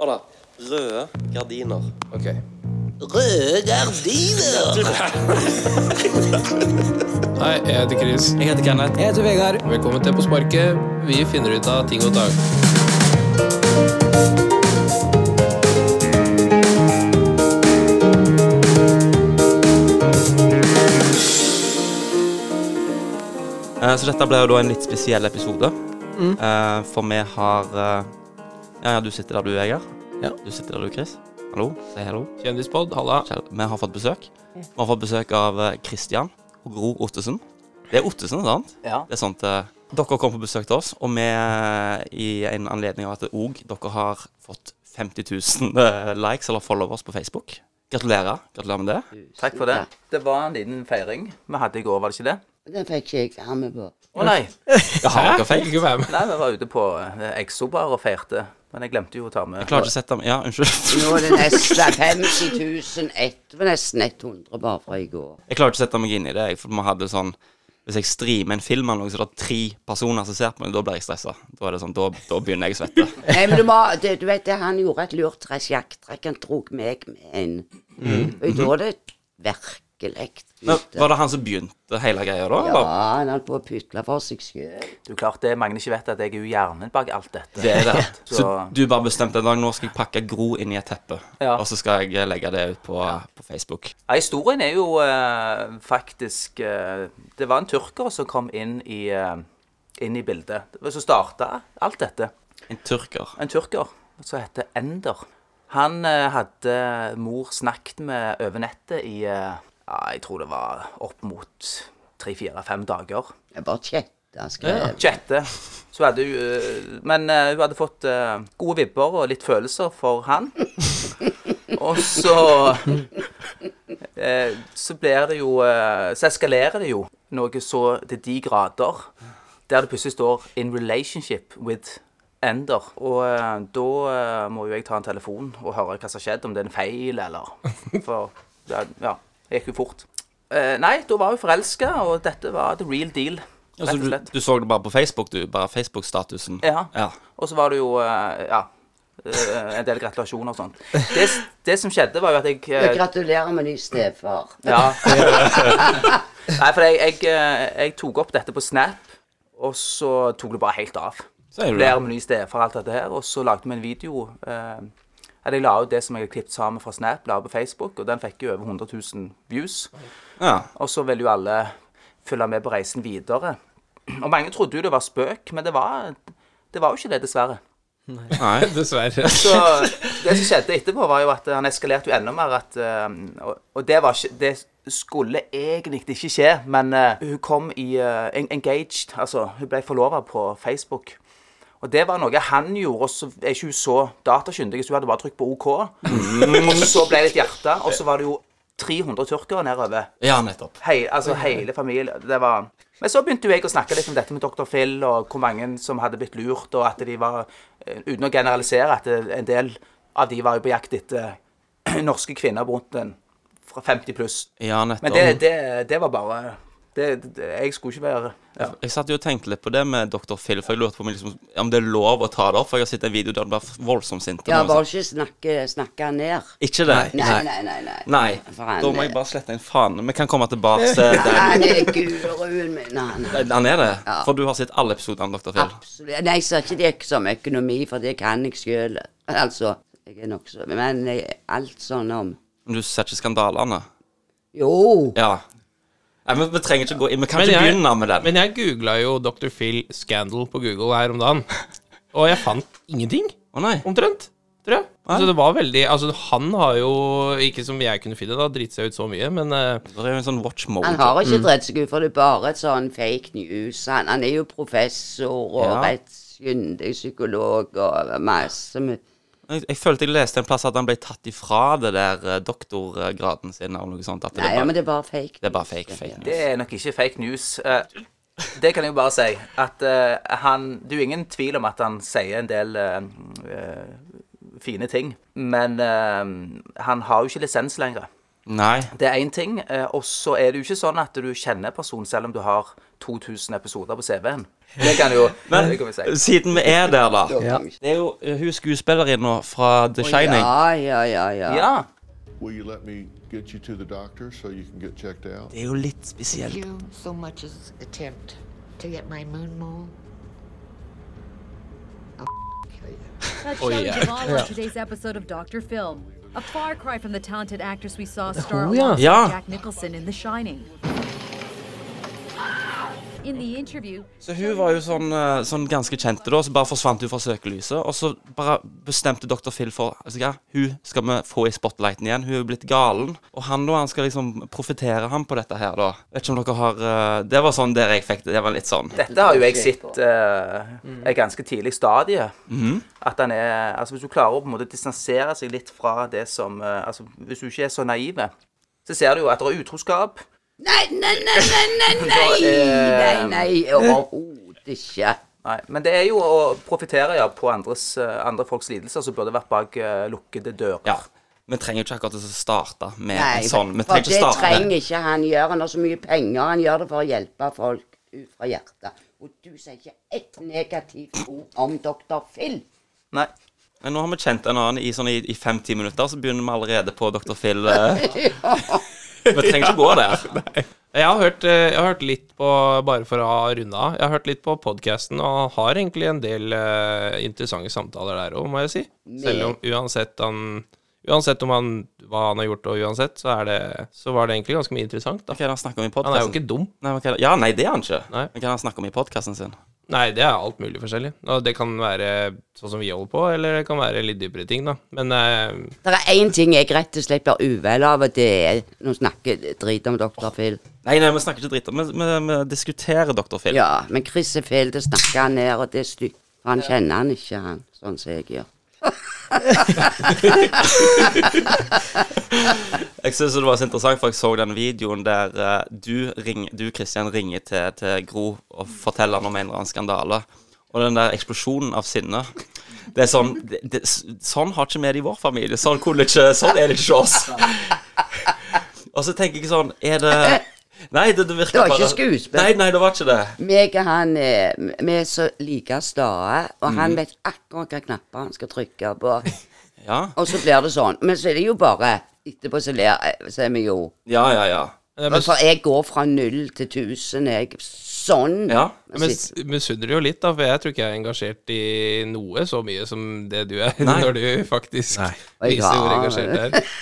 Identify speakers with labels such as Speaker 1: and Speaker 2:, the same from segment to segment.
Speaker 1: Hør da. Røde gardiner.
Speaker 2: Ok.
Speaker 1: Røde gardiner!
Speaker 2: Hei, jeg heter Chris.
Speaker 1: Jeg heter Kenneth.
Speaker 3: Jeg heter Vegard.
Speaker 2: Velkommen til På sparket. Vi finner ut av ting og tang.
Speaker 4: Eh, Så dette ble jo da en litt spesiell episode. Eh, For vi har eh, Ja, ja, du sitter der du, Vegard.
Speaker 2: Ja.
Speaker 4: Du sitter der du, Chris. Hallo. Si hallo.
Speaker 2: Kjendispod, halla.
Speaker 4: Kjell. Vi har fått besøk. Vi har fått besøk av eh, Christian og Gro Ottesen. Det er Ottesen, sant?
Speaker 3: Ja.
Speaker 4: Det er sånt eh, Dere kom på besøk til oss, og vi eh, i en anledning av at det òg dere har fått 50 000 eh, likes eller followers på Facebook. Gratulerer. Gratulerer med det.
Speaker 3: Takk for det. Det var en liten feiring vi hadde i går, var det ikke det?
Speaker 5: Den fikk ikke jeg være med på.
Speaker 3: Å nei.
Speaker 4: Jeg har dere
Speaker 2: Jeg
Speaker 4: feil.
Speaker 2: vil ikke være med.
Speaker 3: Nei, vi var ute på eh, Exo Bar og feirte. Men jeg glemte jo å ta med
Speaker 4: Klarer ikke å sette dem Ja, unnskyld.
Speaker 5: Nå er det nesten 50 000 etter, nesten 100 bare fra i går.
Speaker 4: Jeg klarer ikke å sette meg inn i det. jeg, For man hadde sånn Hvis jeg streamer en film eller noe, så er det tre personer som ser på meg, da blir jeg stressa. Da er det sånn, da, da begynner jeg å svette.
Speaker 5: Nei, men du, må, det, du vet det, han gjorde et lurt trekk, jakktrekk, han drog meg med inn. Og da er det virkelig
Speaker 4: Men
Speaker 5: ute.
Speaker 4: Var det han som begynte hele greia da?
Speaker 5: Ja,
Speaker 4: eller?
Speaker 5: han holdt på å pytle for seg sjøl.
Speaker 3: Du, klart det Magne ikke vet at jeg er jo hjernen bak alt dette.
Speaker 4: Det er det. Så
Speaker 3: Så-
Speaker 4: du bare bestemte en dag nå skal jeg pakke Gro inn i et teppe,
Speaker 3: Ja.
Speaker 4: og så skal jeg legge det ut på, på Facebook.
Speaker 3: Ja, historien er jo eh, faktisk eh, Det var en tyrker som kom inn i, eh, inn i bildet. Som starta alt dette.
Speaker 4: En turker.
Speaker 3: En tyrker som heter Ender. Han eh, hadde mor snakket med over nettet i eh, ja, Jeg tror det var opp mot tre-fire-fem dager.
Speaker 5: Jeg bare kjetta, skrev
Speaker 3: Eh, Jette. Så hadde hun eh, Men eh, hun hadde fått eh, gode vibber og litt følelser for han. Og så eh, Så blir det jo eh, Så eskalerer det jo noe så til de grader der det plutselig står 'in relationship with Ender'. Og eh, da eh, må jo jeg ta en telefon og høre hva som har skjedd, om det er en feil eller For ja, ja det gikk jo fort. Eh, nei, da var hun forelska, og dette var the real deal.
Speaker 4: Altså,
Speaker 3: rett og
Speaker 4: du,
Speaker 3: slett.
Speaker 4: du så det bare på Facebook, du? Bare Facebook-statusen?
Speaker 3: Ja.
Speaker 4: ja.
Speaker 3: Og så var det jo eh, ja, eh, en del gratulasjoner og sånt. Det, det som skjedde, var jo at jeg eh,
Speaker 5: Gratulerer med ny stefar.
Speaker 3: ja. Nei, for jeg, jeg, eh, jeg tok opp dette på Snap, og så tok det bare helt av.
Speaker 4: Sier du det?
Speaker 3: Flere med ny stefar og alt dette her, og så lagde vi en video. eh, at jeg la ut det som jeg hadde klippet sammen fra Snap, la ut på Facebook, og den fikk jo over 100 000 views.
Speaker 4: Ja.
Speaker 3: Og så ville jo alle følge med på reisen videre. Og mange trodde jo det var spøk, men det var, det var jo ikke det, dessverre.
Speaker 4: Nei.
Speaker 2: Dessverre.
Speaker 3: Så det som skjedde etterpå, var jo at han eskalerte jo enda mer. At, eh, og, og det var ikke Det skulle egentlig ikke skje, men eh, hun kom i eh, en- engaged. Altså, hun ble forlova på Facebook. Og det var noe han gjorde, og så er ikke hun så datakyndig, så hun hadde bare trykt på OK. Og så ble det et hjerte, og så var det jo 300 tyrkere nedover.
Speaker 4: Ja, nettopp.
Speaker 3: Hei, altså hele familien. Det var Men så begynte jo jeg å snakke litt om dette med Dr. Phil, og hvor mange som hadde blitt lurt, og at de var eh, Uten å generalisere, at det- en del av de var jo på jakt etter eh, norske kvinner rundt en fra 50 pluss.
Speaker 4: Ja, nettopp.
Speaker 3: Men det, det, det var bare det, det, Jeg skulle ikke være ja.
Speaker 4: Jeg satt jo og tenkte litt på det med Dr. Phil, for jeg lurte på om, jeg liksom, om det er lov å ta det opp. For jeg har sett en video der han blir voldsomt sint.
Speaker 5: Ja, bare ikke snakke, snakke ned.
Speaker 4: Ikke det?
Speaker 5: Nei, nei, nei. nei.
Speaker 4: Nei.
Speaker 5: For han-
Speaker 4: Da må jeg bare slette en faen. Vi kan komme tilbake til den.
Speaker 5: Han er guruen min, han.
Speaker 4: Han er det?
Speaker 5: Ja.
Speaker 4: For du har sett alle episodene av Dr. Phil?
Speaker 5: Absolutt. Nei, jeg ser ikke det som økonomi, for det kan jeg sjøl. Altså, jeg er nokså Men jeg, alt sånn om
Speaker 4: Men du ser ikke skandalene?
Speaker 5: Jo!
Speaker 4: Ja. Nei, men Vi trenger ikke gå inn. Vi kan
Speaker 2: Men
Speaker 4: ikke
Speaker 2: jeg-
Speaker 4: begynne med den.
Speaker 2: Men jeg googla jo Dr. Phil Scandal på Google her om dagen, og jeg fant ingenting,
Speaker 4: Å nei.
Speaker 2: omtrent. Tror jeg. Så det var veldig Altså, han har jo, ikke som jeg kunne finne, da, driti seg ut så mye, men eh,
Speaker 4: Det er jo en sånn watch
Speaker 5: Han
Speaker 4: mode.
Speaker 5: har ikke dredd seg ut, for det er bare et sånn fake news. Han, han er jo professor og
Speaker 4: Ja.
Speaker 5: rettskyndig psykolog og masse mye
Speaker 4: Jeg, jeg følte jeg leste en plass at han ble tatt ifra det der eh, doktorgraden sin eller noe sånt. At det,
Speaker 5: Nei, ja,
Speaker 4: bare,
Speaker 5: men det er bare fake.
Speaker 4: det er bare fake. fake.
Speaker 3: Det er nok ikke fake news. Eh, Det kan jeg jo bare si. At eh, han Det er jo ingen tvil om at han sier en del eh, eh, fine ting. Men eh, han har jo ikke lisens lenger.
Speaker 4: Nei.
Speaker 3: Det er én ting. eh, Og så er det jo ikke sånn at du kjenner personen selv om du har 2000 episoder på CV-en. Det kan jo
Speaker 4: Men
Speaker 3: det kan vi si.
Speaker 4: siden vi er der, da
Speaker 6: Ja.
Speaker 4: Det er jo eh, hun skuespillerinna fra The Shining.
Speaker 5: Ja, ja, ja, ja.
Speaker 3: Ja.
Speaker 6: Will you let me get you to the doctor so you can get checked out?
Speaker 4: Det er jo litt spesielt.
Speaker 7: you so much as attempt to get my moon mole? I'll kill you.
Speaker 8: That
Speaker 2: Oh,
Speaker 8: showed
Speaker 2: yeah.
Speaker 8: you all on today's episode of Doctor Film. A far cry from the talented actress we saw star
Speaker 2: Oh, yeah.
Speaker 8: alongside
Speaker 4: Yeah.
Speaker 8: Jack Nicholson in The Shining. In the interview,
Speaker 4: Så hun var jo sånn, eh, sånn ganske kjente, da, så bare forsvant hun fra søkelyset. Og så bare bestemte dr. Phil for altså, ja, hun skal vi få i spotlighten igjen. Hun er jo blitt galen. Og han da, han skal liksom profitere ham på dette her, da. Vet ikke om dere har eh, Det var sånn der jeg fikk det. Det var litt sånn.
Speaker 3: Dette har jo jeg sett eh, et ganske tidlig stadie.
Speaker 4: Mhm.
Speaker 3: At han er Altså, hvis du klarer å på en måte distansere seg litt fra det som eh, Altså, hvis du ikke er så naiv, så ser du jo at det er utroskap.
Speaker 5: Nei, nei, nei, nei, nei, nei, nei, nei, overhodet ikke.
Speaker 3: Nei, men det er jo å profitere ja, på andres, eh, andre folks lidelser som burde vært bak eh, lukkede dører.
Speaker 4: Ja. Vi trenger jo ikke akkurat å starte med
Speaker 5: Nei,
Speaker 4: en sånn. Vi
Speaker 5: for
Speaker 4: trenger
Speaker 5: det
Speaker 4: ikke starte
Speaker 5: trenger ikke han gjøre. Han har så mye penger. Han gjør det for å hjelpe folk ut fra hjertet. Og du sier ikke ett negativt ord om dr. Phil.
Speaker 3: Nei.
Speaker 4: Men nå har vi kjent en annen i, sånn, i, i fem-ti minutter, så begynner vi allerede på dr. Phil. eh. Vi trenger ikke gå der.
Speaker 2: Jeg har, hørt, eh, jeg har hørt litt på Bare for å ha runde av. Jeg har hørt litt på podkasten, og han har egentlig en del eh, interessante samtaler der òg, må jeg si. Selv om uansett han Uansett om han, hva han har gjort, og uansett, så, er det, så var det egentlig ganske mye interessant. da.
Speaker 4: Hva er det han snakker om i
Speaker 2: Han er
Speaker 4: podkasten?
Speaker 2: jo ikke dum.
Speaker 4: Nei, men hva er det? Ja, nei, det er han ikke.
Speaker 2: Nei.
Speaker 4: Men hva er det han snakker om i podkasten sin?
Speaker 2: Nei, det er alt mulig forskjellig. Og det kan være sånn som vi holder på, eller det kan være litt dypere ting, da. Men eh,
Speaker 5: Det er én ting jeg rett og slett blir uvel av, og det er Nå snakker jeg drit om dr. Phil.
Speaker 4: Nei, nei, vi snakker ikke dritt om Vi, vi, vi diskuterer Dr. Phil.
Speaker 5: Ja, men Chris er Phil, det snakker han ned, og det er stygt. For han kjenner han ikke, han, sånn som jeg gjør.
Speaker 4: Jeg synes det var så interessant, for jeg så den videoen der eh, du, ring, du Christian, ringer til, til Gro og forteller han om en eller annen skandale. Og den der eksplosjonen av sinne. Det er sånn det, det, Sånn har ikke vi det i vår familie. Sånn, kunne ikke, sånn er det ikke hos oss. Og så tenker jeg sånn Er det Nei, det, det virker
Speaker 5: Eh, Det var ikke
Speaker 4: bare-
Speaker 5: skuespill.
Speaker 4: Nei, nei, det var ikke det.
Speaker 5: Meg og han eh, vi er så like stae, og
Speaker 4: Mm.
Speaker 5: han vet akkurat hva knapper han skal trykke på.
Speaker 4: Ja,
Speaker 5: Og så blir det sånn. Men så er det jo bare Etterpå så ler så er vi jo
Speaker 4: ja, ja. ja.
Speaker 2: jeg mis-
Speaker 5: For jeg går fra null til tusen, jeg. Sånn.
Speaker 4: Ja,
Speaker 5: Og
Speaker 2: jeg mis-
Speaker 5: sitter-
Speaker 2: misunner jo litt, da, for jeg tror ikke jeg er engasjert i noe så mye som det du er,
Speaker 4: Nei.
Speaker 2: når du faktisk
Speaker 5: Oi,
Speaker 2: viser hvor
Speaker 5: ja.
Speaker 2: engasjert du er.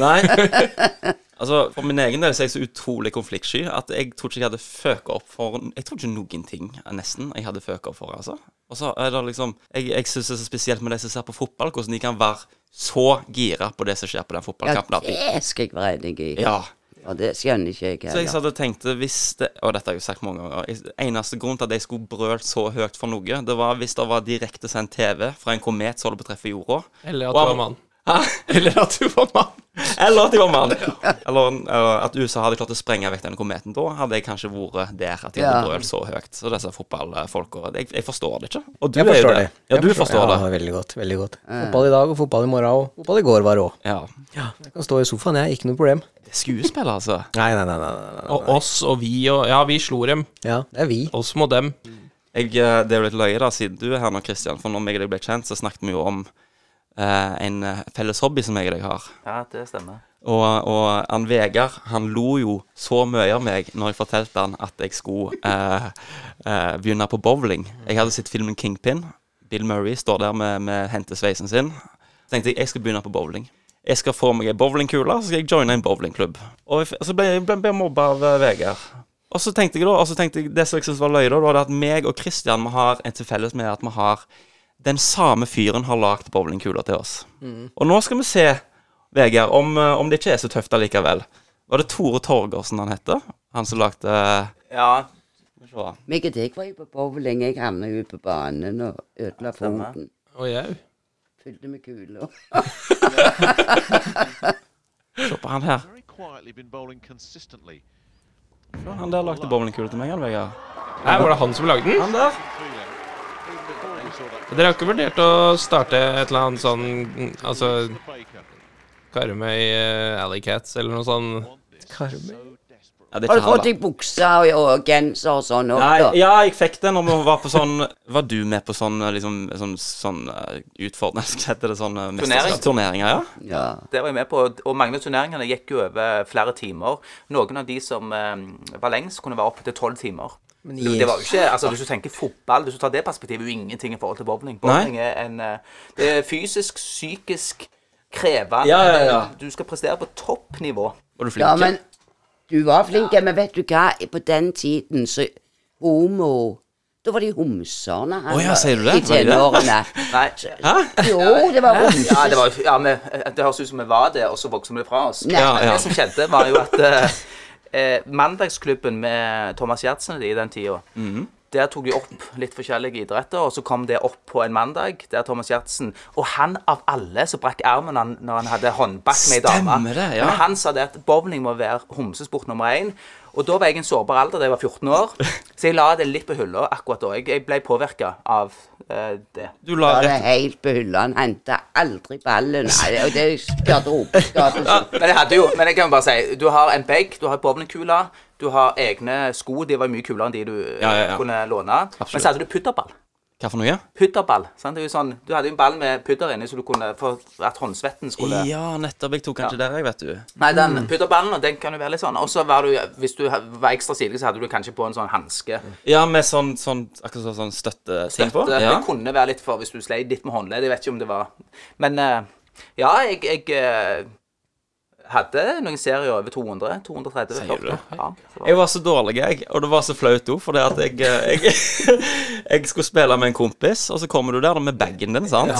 Speaker 4: Nei. Altså, For min egen del så er jeg så utrolig konfliktsky at jeg tror ikke jeg hadde føka opp for Jeg tror ikke noen ting, eh, nesten, jeg hadde føka opp for. altså. Og så er det liksom, Jeg, jeg syns det er så spesielt med de som ser på fotball, hvordan de kan være så gira på det som skjer på den
Speaker 5: ja,
Speaker 4: fotballkampen. at de-
Speaker 5: det skal jeg være enig i.
Speaker 4: Ja.
Speaker 5: Og det skjønner ikke jeg
Speaker 4: Så jeg
Speaker 5: heller.
Speaker 4: satt og tenkte hvis det, Og dette har jeg jo sagt mange ganger. jeg- Eneste grunn til at jeg skulle brølt så høyt for noe, det var hvis det var direktesendt TV fra en komet som holdt på å treffe jorda.
Speaker 2: Eller at
Speaker 4: Og-
Speaker 2: du var mann.
Speaker 4: Hæ?
Speaker 2: Eller at du var mann.
Speaker 4: Eller at de var mann. Eller, eller at USA hadde klart å sprenge vekk den kometen. Da hadde jeg kanskje vært der at de hadde
Speaker 5: Ja.
Speaker 4: brølt så høyt. Så disse fotballfolka jeg, jeg forstår det ikke. Og du
Speaker 6: Jeg
Speaker 4: er jo
Speaker 6: forstår
Speaker 4: det.
Speaker 6: det.
Speaker 4: Ja,
Speaker 6: Jeg
Speaker 4: du forstår
Speaker 6: Ja,
Speaker 4: det.
Speaker 6: veldig godt. veldig godt. Fotball i dag og fotball i morgen og fotball i går var rå.
Speaker 4: Ja.
Speaker 6: Jeg kan stå i sofaen, jeg. Ikke noe problem.
Speaker 4: Det er skuespill, altså.
Speaker 6: Nei, nei, nei. nei, nei, nei.
Speaker 2: Og oss og vi og Ja, vi slo dem.
Speaker 6: Ja, det er vi.
Speaker 2: Oss mot dem.
Speaker 4: Jeg, eh, det er jo litt løye, da, siden du er her nå, Christian. For når jeg og deg ble kjent, så snakket vi jo om eh, en eh, felles hobby som jeg og deg har.
Speaker 3: Ja, det stemmer.
Speaker 4: Og, og han Vegard, han lo jo så mye av meg når jeg fortalte han at jeg skulle eh, eh, begynne på bowling. Jeg hadde sett filmen Kingpin. Bill Murray står der med, med hentesveisen sin. Så tenkte jeg jeg skal begynne på bowling. Jeg skal få meg ei bowlingkule, så skal jeg joine en bowlingklubb. Og jeg f- så ble jeg ble, ble mobba av eh, Vegard. Og så tenkte jeg da, og så tenkte jeg det som jeg syntes var løye, da, var det at meg og Christian vi har en til felles med at vi har den samme fyren har lagd bowlingkuler til oss. Og nå skal vi se, Vegard, om, eh, om det ikke er så tøft allikevel. Var det Tore Torgersen han heter? Han som lagde
Speaker 9: eh,
Speaker 3: Ja,
Speaker 4: Skal vi se.
Speaker 5: Meg og deg var jo på bowling. Jeg havna jo på banen og ødela foten.
Speaker 2: Og jeg.
Speaker 5: Fylte med kuler.
Speaker 4: Se på han her.
Speaker 10: very quietly been bowling consistently.
Speaker 4: Se, Han der lagde bowlingkule til meg, han Vegard.
Speaker 2: Nei, var det han som lagde den?
Speaker 4: Han der.
Speaker 10: Before we saw that
Speaker 2: Dere har ikke vurdert å starte et eller annet sånn Altså
Speaker 10: Baker.
Speaker 2: Karmøy eh, Alley Cats eller noe sånn? sånt.
Speaker 9: Ja, det er
Speaker 5: Har
Speaker 9: ikke
Speaker 5: du
Speaker 9: han,
Speaker 5: fått
Speaker 9: da.
Speaker 5: deg bukse og, og genser og sånn òg,
Speaker 9: Nei,
Speaker 5: da?
Speaker 9: ja, jeg fikk det når vi var på sånn Var du med på sånn eh, liksom, sånn, sånn eh, utfordrende Hva heter det? Sånn eh, mesterskap- Turneringer, ja.
Speaker 5: Ja.
Speaker 3: Det var jeg med på, og mange av turneringene gikk jo over flere timer. Noen av de som eh, var lengst, kunne være opp til tolv timer. Det, det var jo ikke, altså Hvis du tenker fotball, hvis du tar det perspektivet, er jo ingenting i forhold til bowling. Bowling er en eh, det er fysisk, psykisk krevende.
Speaker 9: Ja, ja, ja.
Speaker 3: Du skal prestere på toppnivå.
Speaker 9: Var du flink?
Speaker 5: ja, men du var flink, men vet du hva? På den tiden så Homo Da var de homserne. her,
Speaker 9: Å ja, sier du det?
Speaker 5: I tenårene.
Speaker 3: Nei.
Speaker 5: jo, det var homser.
Speaker 3: Ja, det, var, jo- ja, men, eh, det høres ut som vi var det, og så vokste vi det fra oss.
Speaker 5: Nei.
Speaker 9: Ja, ja.
Speaker 3: Det som skjedde, var jo at eh, eh, Mandagsklubben med Thomas Gjertsen og de i den tida
Speaker 9: Mhm.
Speaker 3: Der tok de opp litt forskjellige idretter, og så kom det opp på en mandag. Der Thomas Gjertsen Og han av alle som brakk armen han, når han hadde håndbak med ei dame.
Speaker 9: Stemmer det, ja.
Speaker 3: Men han sa det at bowling må være homsesport nummer én. Og da var jeg i en sårbar alder, da jeg var 14 år. Så jeg la det litt på hylla akkurat da. Jeg, jeg ble påvirka av eh, det.
Speaker 2: Du la
Speaker 5: Var det
Speaker 2: rett
Speaker 5: helt på hylla. Han henta aldri ballen. Nei, og det er garderobeskapet som
Speaker 3: Men jeg hadde jo, men jeg kan jo bare si, du har en bag, du har bowlingkula, du har egne sko, de var mye kulere enn de du eh,
Speaker 9: Ja, ja, ja.
Speaker 3: kunne låne. Men så hadde du putterball.
Speaker 9: Hva for noe?
Speaker 3: Putterball, sant? Det er jo sånn, du hadde jo en ball med pudder inni, så du kunne, for at håndsvetten skulle...
Speaker 9: Ja, nettopp. Jeg tok
Speaker 3: Ja.
Speaker 9: kanskje der, jeg, vet du.
Speaker 3: Nei, den putterballen, og den kan jo være litt sånn. Og så var du, hvis du ha- var ekstra sidelig, så hadde du kanskje på en sånn handske.
Speaker 9: Ja, med sånn, sånn akkurat sånn- sånn støtteting på.
Speaker 3: Det, det
Speaker 9: Ja.
Speaker 3: kunne være litt for hvis du sleit litt med håndledd, jeg vet ikke om det var... Men eh, ja, jeg... jeg eh, hadde noen serier over 200, 230.
Speaker 9: Sier du det?
Speaker 3: Ja, så var-
Speaker 9: Jeg var så dårlig, jeg, og det var så flaut òg, fordi at jeg, eh, jeg Jeg skulle spille med en kompis, og så kommer du der med bagen din, sant?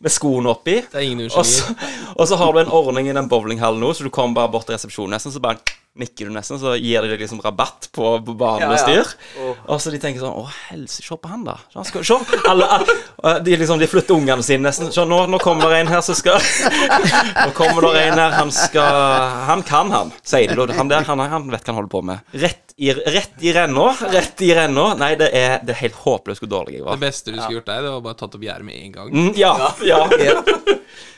Speaker 9: Med skoene oppi.
Speaker 2: er ingen unnskyldninger.
Speaker 9: Og så, og så har du en ordning i den bowlinghallen nå, så du kommer bare bort til resepsjonen nesten, så bare nikker du nesten, så gir de deg liksom rabatt på på
Speaker 3: Ja,
Speaker 9: banestyr.
Speaker 3: ja.
Speaker 9: Og så de tenker sånn Å, helse, se på han, da. Han skal, se! Alle, alle, og de, liksom, de flytter ungene sine nesten. Se, nå, nå kommer det en her som skal Nå kommer det en her, han skal Han kan, han, sier de. da. Han der, han, han vet hva han holder på med. Rett i, rett i renna. Rett i renna. Nei, det er, det er helt håpløst hvor dårlig jeg
Speaker 2: Det
Speaker 9: var.
Speaker 2: beste du skulle gjort der, det var bare tatt opp gjerdet med en gang.
Speaker 9: Mm, ja, ja.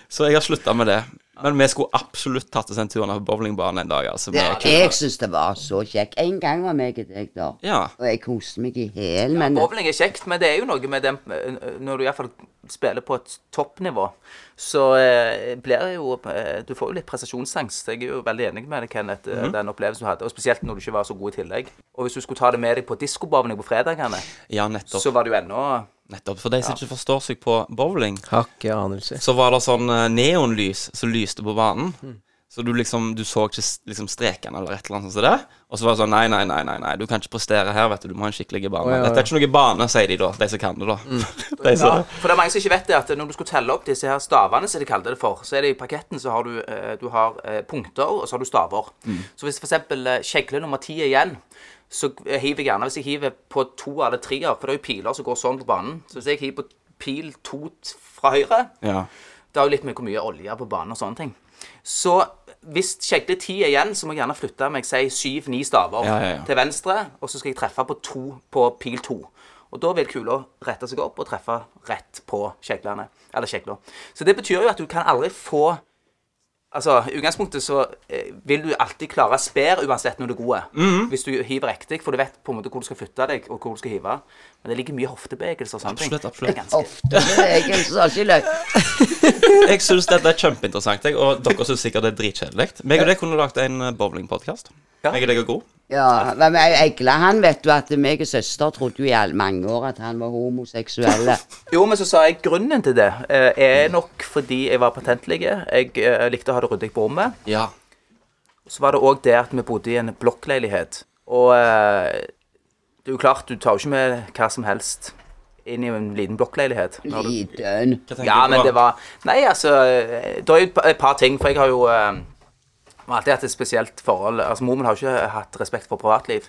Speaker 9: Så jeg har slutta med det. Men vi skulle absolutt tatt oss en tur ned på bowlingbanen en dag. altså. med kul-
Speaker 5: Jeg syns det var så kjekt. En gang var meg og deg, da.
Speaker 9: Ja.
Speaker 5: Og jeg koste meg i hæl, men
Speaker 3: Bowling er kjekt, men det er jo noe med den eh, Når du iallfall spiller på et toppnivå, så eh, blir det jo eh, Du får jo litt prestasjonsangst. Jeg er jo veldig enig med deg, Kenneth, eh, den opplevelsen du hadde. Og spesielt når du ikke var så god i tillegg. Og hvis du skulle ta det med deg på diskobowling på fredagene,
Speaker 9: ja, nettopp.
Speaker 3: så var det jo ennå
Speaker 9: nettopp. For de som ikke forstår seg på bowling,
Speaker 11: Hakke anelse.
Speaker 9: så var det sånn eh, neonlys som lyste på banen.
Speaker 3: Mm.
Speaker 9: Så du liksom, du så ikke s- liksom strekene eller et eller annet sånt som det. Og så var det sånn nei, nei, nei, nei, nei, du kan ikke prestere her, vet du. Du må ha en skikkelig bane.
Speaker 11: ja, ja.
Speaker 9: Dette er ikke noe bane, sier de da, de som kan det, da.
Speaker 3: Mm.
Speaker 9: de som,
Speaker 3: For det er mange som ikke vet det, at når du skulle telle opp disse her stavene, som de kalte det for, så er det i paketten så har du, eh, du har eh, punkter, og så har du staver. Så hvis f.eks. kjegle nummer ti er igjen, så eh, hiver jeg gjerne Hvis jeg hiver på to eller treer, for det er jo piler som går sånn på banen Så hvis jeg hiver på pil to t- fra høyre
Speaker 9: ja.
Speaker 3: Det er jo litt med hvor mye olje er på banen og sånne ting. Så hvis kjegle ti er igjen, så må jeg gjerne flytte meg si syv-ni staver
Speaker 9: Ja, ja, ja.
Speaker 3: til venstre, og så skal jeg treffe på, to, på pil to. Og da vil kula rette seg opp og treffe rett på kjeglene. Eller kjegla. Så det betyr jo at du kan aldri få Altså, I utgangspunktet så eh, vil du alltid klare spær uansett når du er god.
Speaker 9: Mhm.
Speaker 3: Hvis du hiver riktig, for du vet på en måte hvor du skal flytte deg, og hvor du skal hive. Men det ligger mye hoftebevegelser og sånne ting.
Speaker 9: Absolutt, absolutt.
Speaker 3: Det er ganske-
Speaker 5: ofte bevegelser har ikke løp.
Speaker 9: Jeg syns dette er kjempeinteressant, jeg, og dere syns sikkert det er dritkjedelig. Meg og deg kunne lagd en eh, bowlingpodkast.
Speaker 3: Ja.
Speaker 9: Meg og deg er god.
Speaker 5: Ja, men Egle, han vet du at meg og søster trodde jo i all- mange år at han var homoseksuelle.
Speaker 3: Jo, men så sa jeg grunnen til det eh, er
Speaker 9: Mm.
Speaker 3: nok fordi jeg var patentlige. Jeg eh, likte å ha det ryddig på rommet.
Speaker 9: Ja.
Speaker 3: Så var det òg det at vi bodde i en blokkleilighet. Og eh, det er jo klart, du tar jo ikke med hva som helst inn i en liten blokkleilighet. Når du...
Speaker 5: Liten.
Speaker 9: Hva tenker
Speaker 3: Ja,
Speaker 9: du på?
Speaker 3: men det var Nei, altså eh, Det er jo et pa- et par ting, for jeg har jo eh, jeg har alltid hatt et spesielt forhold. Altså, Mormen har jo ikke hatt respekt for privatliv.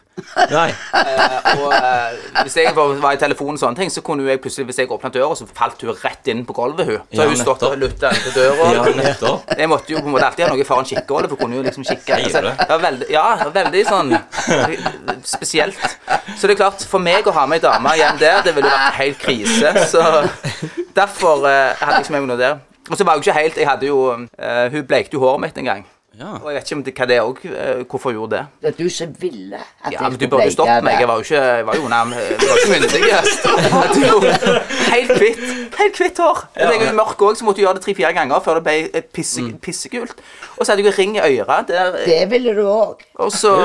Speaker 9: Nei.
Speaker 3: Og eh, hvis jeg var, var i telefonen og sånne ting, så kunne jo jeg plutselig, hvis jeg åpnet døra, så falt hun rett inn på gulvet, hun. Så
Speaker 9: Ja,
Speaker 3: har hun stått og lutta til døra.
Speaker 9: Ja, nettopp.
Speaker 3: Jeg måtte jo på en måte alltid ha noe foran kikkehullet, for hun kunne jo liksom kikke.
Speaker 9: Sier du
Speaker 3: Altså,
Speaker 9: det?
Speaker 3: det var veldig, ja, det var veldig sånn spesielt. Så det er klart, for meg å ha med ei dame hjem der, det ville jo vært helt krise. Så derfor eh, hadde jeg ikke med meg noe der. Og så var jeg jo ikke helt Jeg hadde jo eh, Hun bleikte jo håret mitt en gang.
Speaker 4: Ja.
Speaker 3: Og jeg vet ikke om det, hva det òg Hvorfor hun gjorde det.
Speaker 5: Det er du som ville
Speaker 3: Ja,
Speaker 5: at
Speaker 3: men
Speaker 5: jeg
Speaker 3: Du
Speaker 5: skulle
Speaker 3: burde
Speaker 5: bleike
Speaker 3: stoppe meg.
Speaker 5: det.
Speaker 3: Jeg var jo ikke Jeg var jo nærm Jeg var ikke myndig. Jeg hadde jo Helt hvitt. Helt hvitt hår. Jeg er jo mørk òg, så måtte jeg gjøre det tre-fire ganger før det ble eh, pisse, pissegult. Og så hadde jeg jo ring i øret. Det Mm. der,
Speaker 5: Det ville du òg.
Speaker 3: og så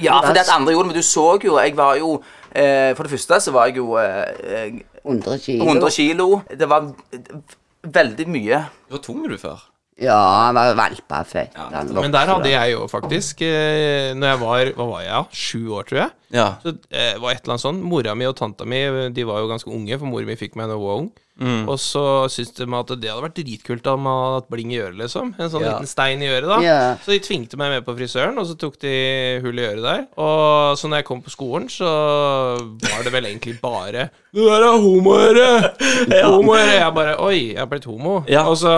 Speaker 3: Ja, for det at andre gjorde det, men du så jo Jeg var jo eh, For det første så var jeg jo eh, eh,
Speaker 5: 100 kilo.
Speaker 3: 100 kilo. Det var v- veldig mye.
Speaker 4: Du var tung, du, før.
Speaker 5: Ja, han var valpefett. han
Speaker 2: Men der
Speaker 5: vokste.
Speaker 2: hadde jeg jo faktisk eh, Når jeg var Hva var jeg? ja? Sju år, tror jeg.
Speaker 4: Ja.
Speaker 2: Så eh, var et eller annet sånn Mora mi og tanta mi De var jo ganske unge, for mora mi fikk meg da hun var ung. Og så syntes de at det hadde vært dritkult om jeg hadde hatt bling i øret, liksom. En sånn liten stein i øret, da.
Speaker 5: Ja.
Speaker 2: Så de tvingte meg med på frisøren, og så tok de hull i øret der. Og så når jeg kom på skolen, så var det vel egentlig bare Det der er homoøre! Homoøre! Jeg bare Oi, jeg har blitt homo.
Speaker 4: Ja.
Speaker 2: Og så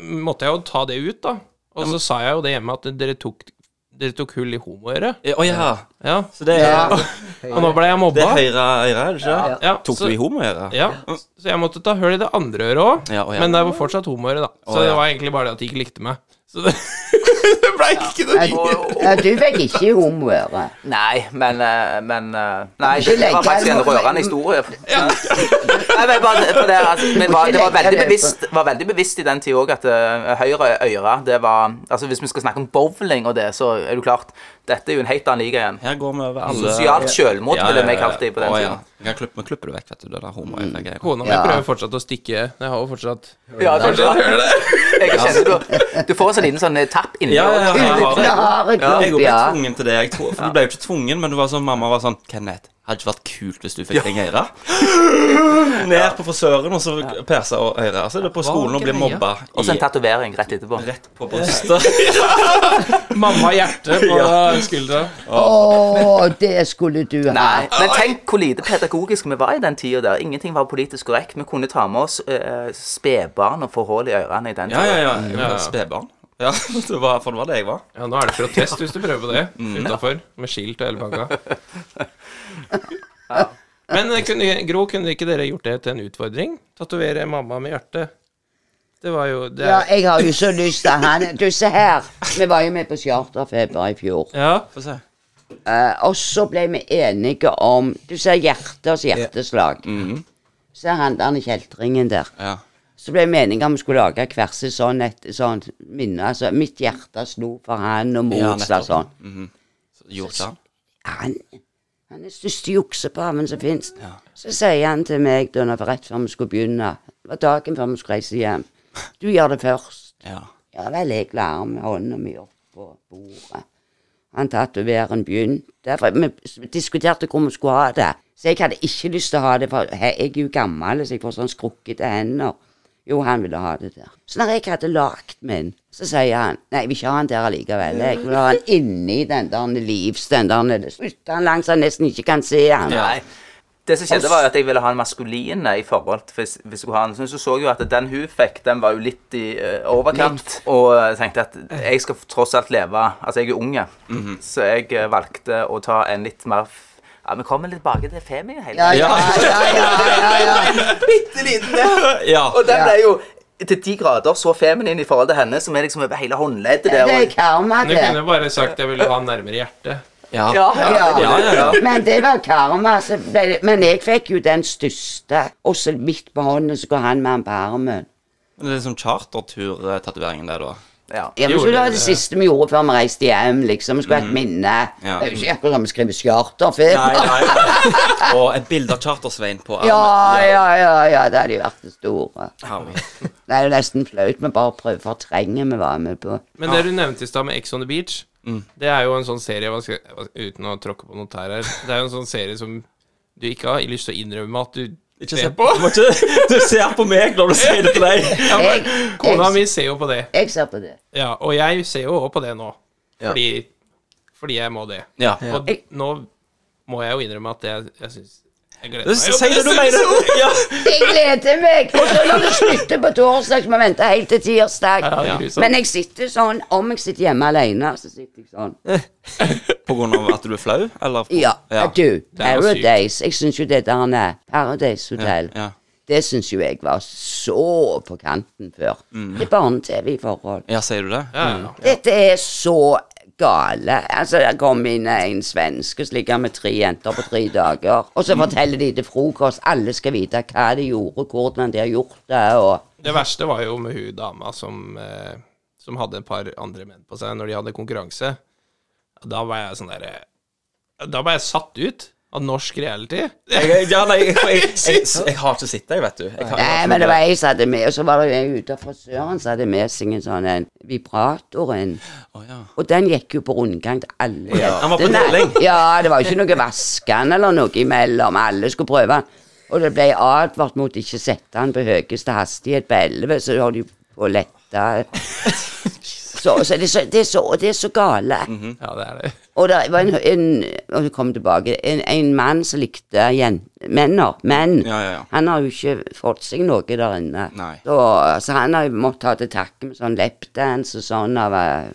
Speaker 2: måtte jeg jo ta det ut, da. Og så sa jeg jo det hjemme at dere tok, dere tok hull i homoøret.
Speaker 4: Eh, Å ja.
Speaker 2: Ja.
Speaker 4: Så det er,
Speaker 5: Ja.
Speaker 2: Og nå ble jeg
Speaker 4: det
Speaker 2: mobba.
Speaker 4: er høyre øre, er det ikke? det?
Speaker 2: Ja,
Speaker 4: Tok
Speaker 2: så-
Speaker 4: du i homoøre?
Speaker 2: Ja, så jeg måtte ta hull i det andre øret òg,
Speaker 4: Ja, å ja.
Speaker 2: men det var fortsatt homoøret, da. Så
Speaker 4: Å ja.
Speaker 2: det var egentlig bare det at de ikke likte meg. Så det, det blei ikke noe
Speaker 5: Jeg- Ja, du fikk ikke homoøre.
Speaker 3: Nei, men, eh, men eh, Nei,
Speaker 5: Ikke
Speaker 3: det var
Speaker 5: legge-
Speaker 3: faktisk en rørende historie. Nei, men bare for det, altså, men var, det var veldig bevisst, var veldig bevisst i den tida òg at eh, høyre øre det var Altså Hvis vi skal snakke om bowling og det, så er du klart Dette er jo en helt annen liga igjen.
Speaker 4: Her går vi over alle
Speaker 3: Sosialt selvmord ville vi kalt det på den Mm.
Speaker 4: Å,
Speaker 3: tida.
Speaker 4: ja. Vi kan klippe- Vi klipper det vekk, vet du. Det der homoøre-greier.
Speaker 2: Kona mi
Speaker 5: Ja.
Speaker 2: prøver fortsatt å stikke. Jeg har jo fortsatt
Speaker 3: Ja, kanskje det. Jeg kjenner du, du får en sånn liten sånn eh, tapp inni
Speaker 4: Ja, ja, ja, ja.
Speaker 5: Uten harde
Speaker 4: Jeg
Speaker 5: knopp,
Speaker 4: ble
Speaker 5: ja.
Speaker 4: tvungen til det. Jeg tror, for Du ble jo ikke tvungen, men det var sånn, mamma var sånn Kenneth, hadde ikke vært kult hvis du fikk deg øre. Ned på frisøren, og så persa og øre. Så er det på skolen og blir
Speaker 2: greia?
Speaker 4: mobba
Speaker 3: Og så en
Speaker 4: i
Speaker 3: tatovering rett etterpå.
Speaker 4: Rett på brystet.
Speaker 2: Mamma hjerte på skuldra.
Speaker 5: Å, det skulle du ha.
Speaker 3: Nei, Men tenk hvor lite pedagogisk vi var i den tida der. Ingenting var politisk korrekt. Vi kunne ta med oss eh, spedbarn og få hull i ørene i den
Speaker 4: Ja,
Speaker 3: tida.
Speaker 4: ja, ja. Jeg var et Spedbarn. Ja, det var, for det var det jeg var.
Speaker 2: Ja, nå er det protest hvis du prøver på det
Speaker 4: Mm.
Speaker 2: utafor, med skilt og hele banka. Men eh, kunne, Gro, kunne ikke dere gjort det til en utfordring? Tatovere mamma med hjerte? Det var jo det
Speaker 5: Ja,
Speaker 2: er,
Speaker 5: jeg har jo så lyst til han. Du, se her. Vi var jo med på charterfeber i fjor.
Speaker 2: ja.
Speaker 4: Få se.
Speaker 5: Eh, og så ble vi enige om Du ser hjerters hjerteslag. Se han der kjeltringen der.
Speaker 4: Mhm. Ja.
Speaker 5: Så ble vi enige om vi skulle lage hver sin sånn et sånt minne. Altså, mitt hjerte slo for han, og
Speaker 4: Ja,
Speaker 5: motsatt
Speaker 4: nettopp. Mhm.
Speaker 5: sånn.
Speaker 4: Så Gjorde han.
Speaker 5: han, han er største juksepaven som fins. Så sier han til meg da når- rett før vi skulle begynne, det var dagen før vi skulle reise hjem, du gjør det først.
Speaker 4: Ja.
Speaker 5: Ja vel, jeg la med hånda mi opp på bordet. Han tatoveren begynte. For vi s- diskuterte hvor vi skulle ha det. Så jeg hadde ikke lyst til å ha det, for he- jeg er jo gammel, så jeg får sånn skrukkete hender. Jo, han ville ha det der. Så når jeg hadde lagd min, så sier han nei, jeg vil ikke ha han der allikevel. Jeg vil ha han inni den der livs, den der Slutter han langs så han nesten ikke kan se han.
Speaker 3: Nei. Det som skjedde, var jo at jeg ville ha en maskulin eh, i forhold til hvis, hvis jeg skulle ha en. Så så jeg jo at den hun fikk, den var jo litt i eh, overkant. Og eh, tenkte at jeg skal tross alt leve Altså, jeg er unge, så jeg eh, valgte å ta en litt mer f- Ja, vi kommer litt tilbake til feminin hele
Speaker 5: Ja, ja, ja, ja, ja, ja.
Speaker 3: Bitte liten der.
Speaker 4: Ja.
Speaker 3: Og den ble jo til de grader så feminin i forhold til henne, som er liksom over hele håndleddet der.
Speaker 5: Det er
Speaker 3: og-
Speaker 5: karma,
Speaker 2: Du
Speaker 5: det.
Speaker 2: kunne bare sagt jeg ville ha nærmere hjertet.
Speaker 4: Ja.
Speaker 3: Ja, ja,
Speaker 5: Ja.
Speaker 4: ja, ja.
Speaker 5: Men det var karma. Så ble det, men jeg fikk jo den største. Og så midt på hånden så går han med han på armen.
Speaker 4: Men det er sånn chartertur-tatoveringen der, da.
Speaker 3: ja.
Speaker 5: Ja, men
Speaker 2: Gjorde
Speaker 5: så det
Speaker 2: dere
Speaker 5: var det
Speaker 2: det?
Speaker 5: siste vi gjorde før vi reiste hjem, liksom. Skulle ha et minne. Det
Speaker 4: Ja.
Speaker 5: er jo ikke akkurat som vi skriver charterfeber.
Speaker 4: nei. Og et bilde av Charter-Svein på armen.
Speaker 5: Ja, ja, ja, ja, det hadde jo vært det store.
Speaker 4: Herlig.
Speaker 5: Det er jo nesten flaut, vi bare prøver å fortrenge vi var med på.
Speaker 2: Men det du nevnte i stad med Ex on the Beach,
Speaker 4: Mm.
Speaker 2: det er jo en sånn serie hva skal, hva- Uten å tråkke på noe tær her. Det er jo en sånn serie som du ikke har lyst til å innrømme at du
Speaker 4: Ikke
Speaker 2: ser
Speaker 4: se
Speaker 2: på.
Speaker 4: Du, må ikke, du ser på meg når du sier det til deg.
Speaker 2: Ja, men,
Speaker 5: Jeg-
Speaker 2: kona
Speaker 5: jeg-
Speaker 2: mi ser jo på det.
Speaker 5: Jeg ser på det.
Speaker 2: Ja, og jeg ser jo òg på det nå. Fordi, fordi jeg må det.
Speaker 4: Ja.
Speaker 2: Og d- nå må jeg jo innrømme at jeg, jeg syns Jeg gleder
Speaker 4: Du,
Speaker 2: meg.
Speaker 4: si det du mener. Ja.
Speaker 5: Jeg gleder meg! Og så når det slutter på torsdag, så må vi vente helt til tirsdag.
Speaker 2: Ja, det er grusomt.
Speaker 5: Men jeg sitter sånn, om jeg sitter hjemme alene, så sitter jeg sånn.
Speaker 4: På grunn av at du er flau, eller?
Speaker 5: Ja,
Speaker 4: ja.
Speaker 5: du,
Speaker 2: sykt.
Speaker 5: Paradise. Jeg syns jo det der han er Paradise Hotel.
Speaker 4: Ja.
Speaker 5: Det syns jo jeg var så på kanten før.
Speaker 4: Mm.
Speaker 5: Det er barne-TV i forhold.
Speaker 4: Ja, sier du det?
Speaker 2: Ja, ja.
Speaker 5: Dette er så gale. Altså, det kom inn en svenske som ligger med tre jenter på tre dager, og så forteller de til frokost. Alle skal vite hva de gjorde, hvordan de har gjort det, og
Speaker 2: Det verste var jo med hun dama som, eh, som hadde et par andre menn på seg når de hadde konkurranse. Da var jeg sånn derre Da var jeg satt ut av norsk reality.
Speaker 4: Jeg, ja, nei, jeg, jeg, jeg, jeg, jeg har ikke sittet, jeg, vet du. Jeg, har-
Speaker 5: Nei, men det var jeg som hadde med, og så var det jo en ute av frisøren som hadde med seg en sånn en vibrator. En.
Speaker 4: Å, ja.
Speaker 5: Og den gikk jo på rundgang til alle.
Speaker 4: Han var på
Speaker 5: jentene.
Speaker 4: deling.
Speaker 5: Ja, det var jo ikke noe vaskende eller noe imellom. Alle skulle prøve den. Og det ble advart mot ikke sette den på høyeste hastighet på 11, så holdt de på å lette. Så, så, det, er så, det, er så, og det er så gale.
Speaker 4: Mhm.
Speaker 2: Ja, det er det.
Speaker 5: Og det var en, en og det kom tilbake, en, en mann som likte jen, menner, menn.
Speaker 4: Ja, ja, ja.
Speaker 5: Han har jo ikke fått seg noe der inne.
Speaker 4: Nei.
Speaker 5: Så, så han har jo måttet ta til takke med sånn lapdance og sånn av, eh,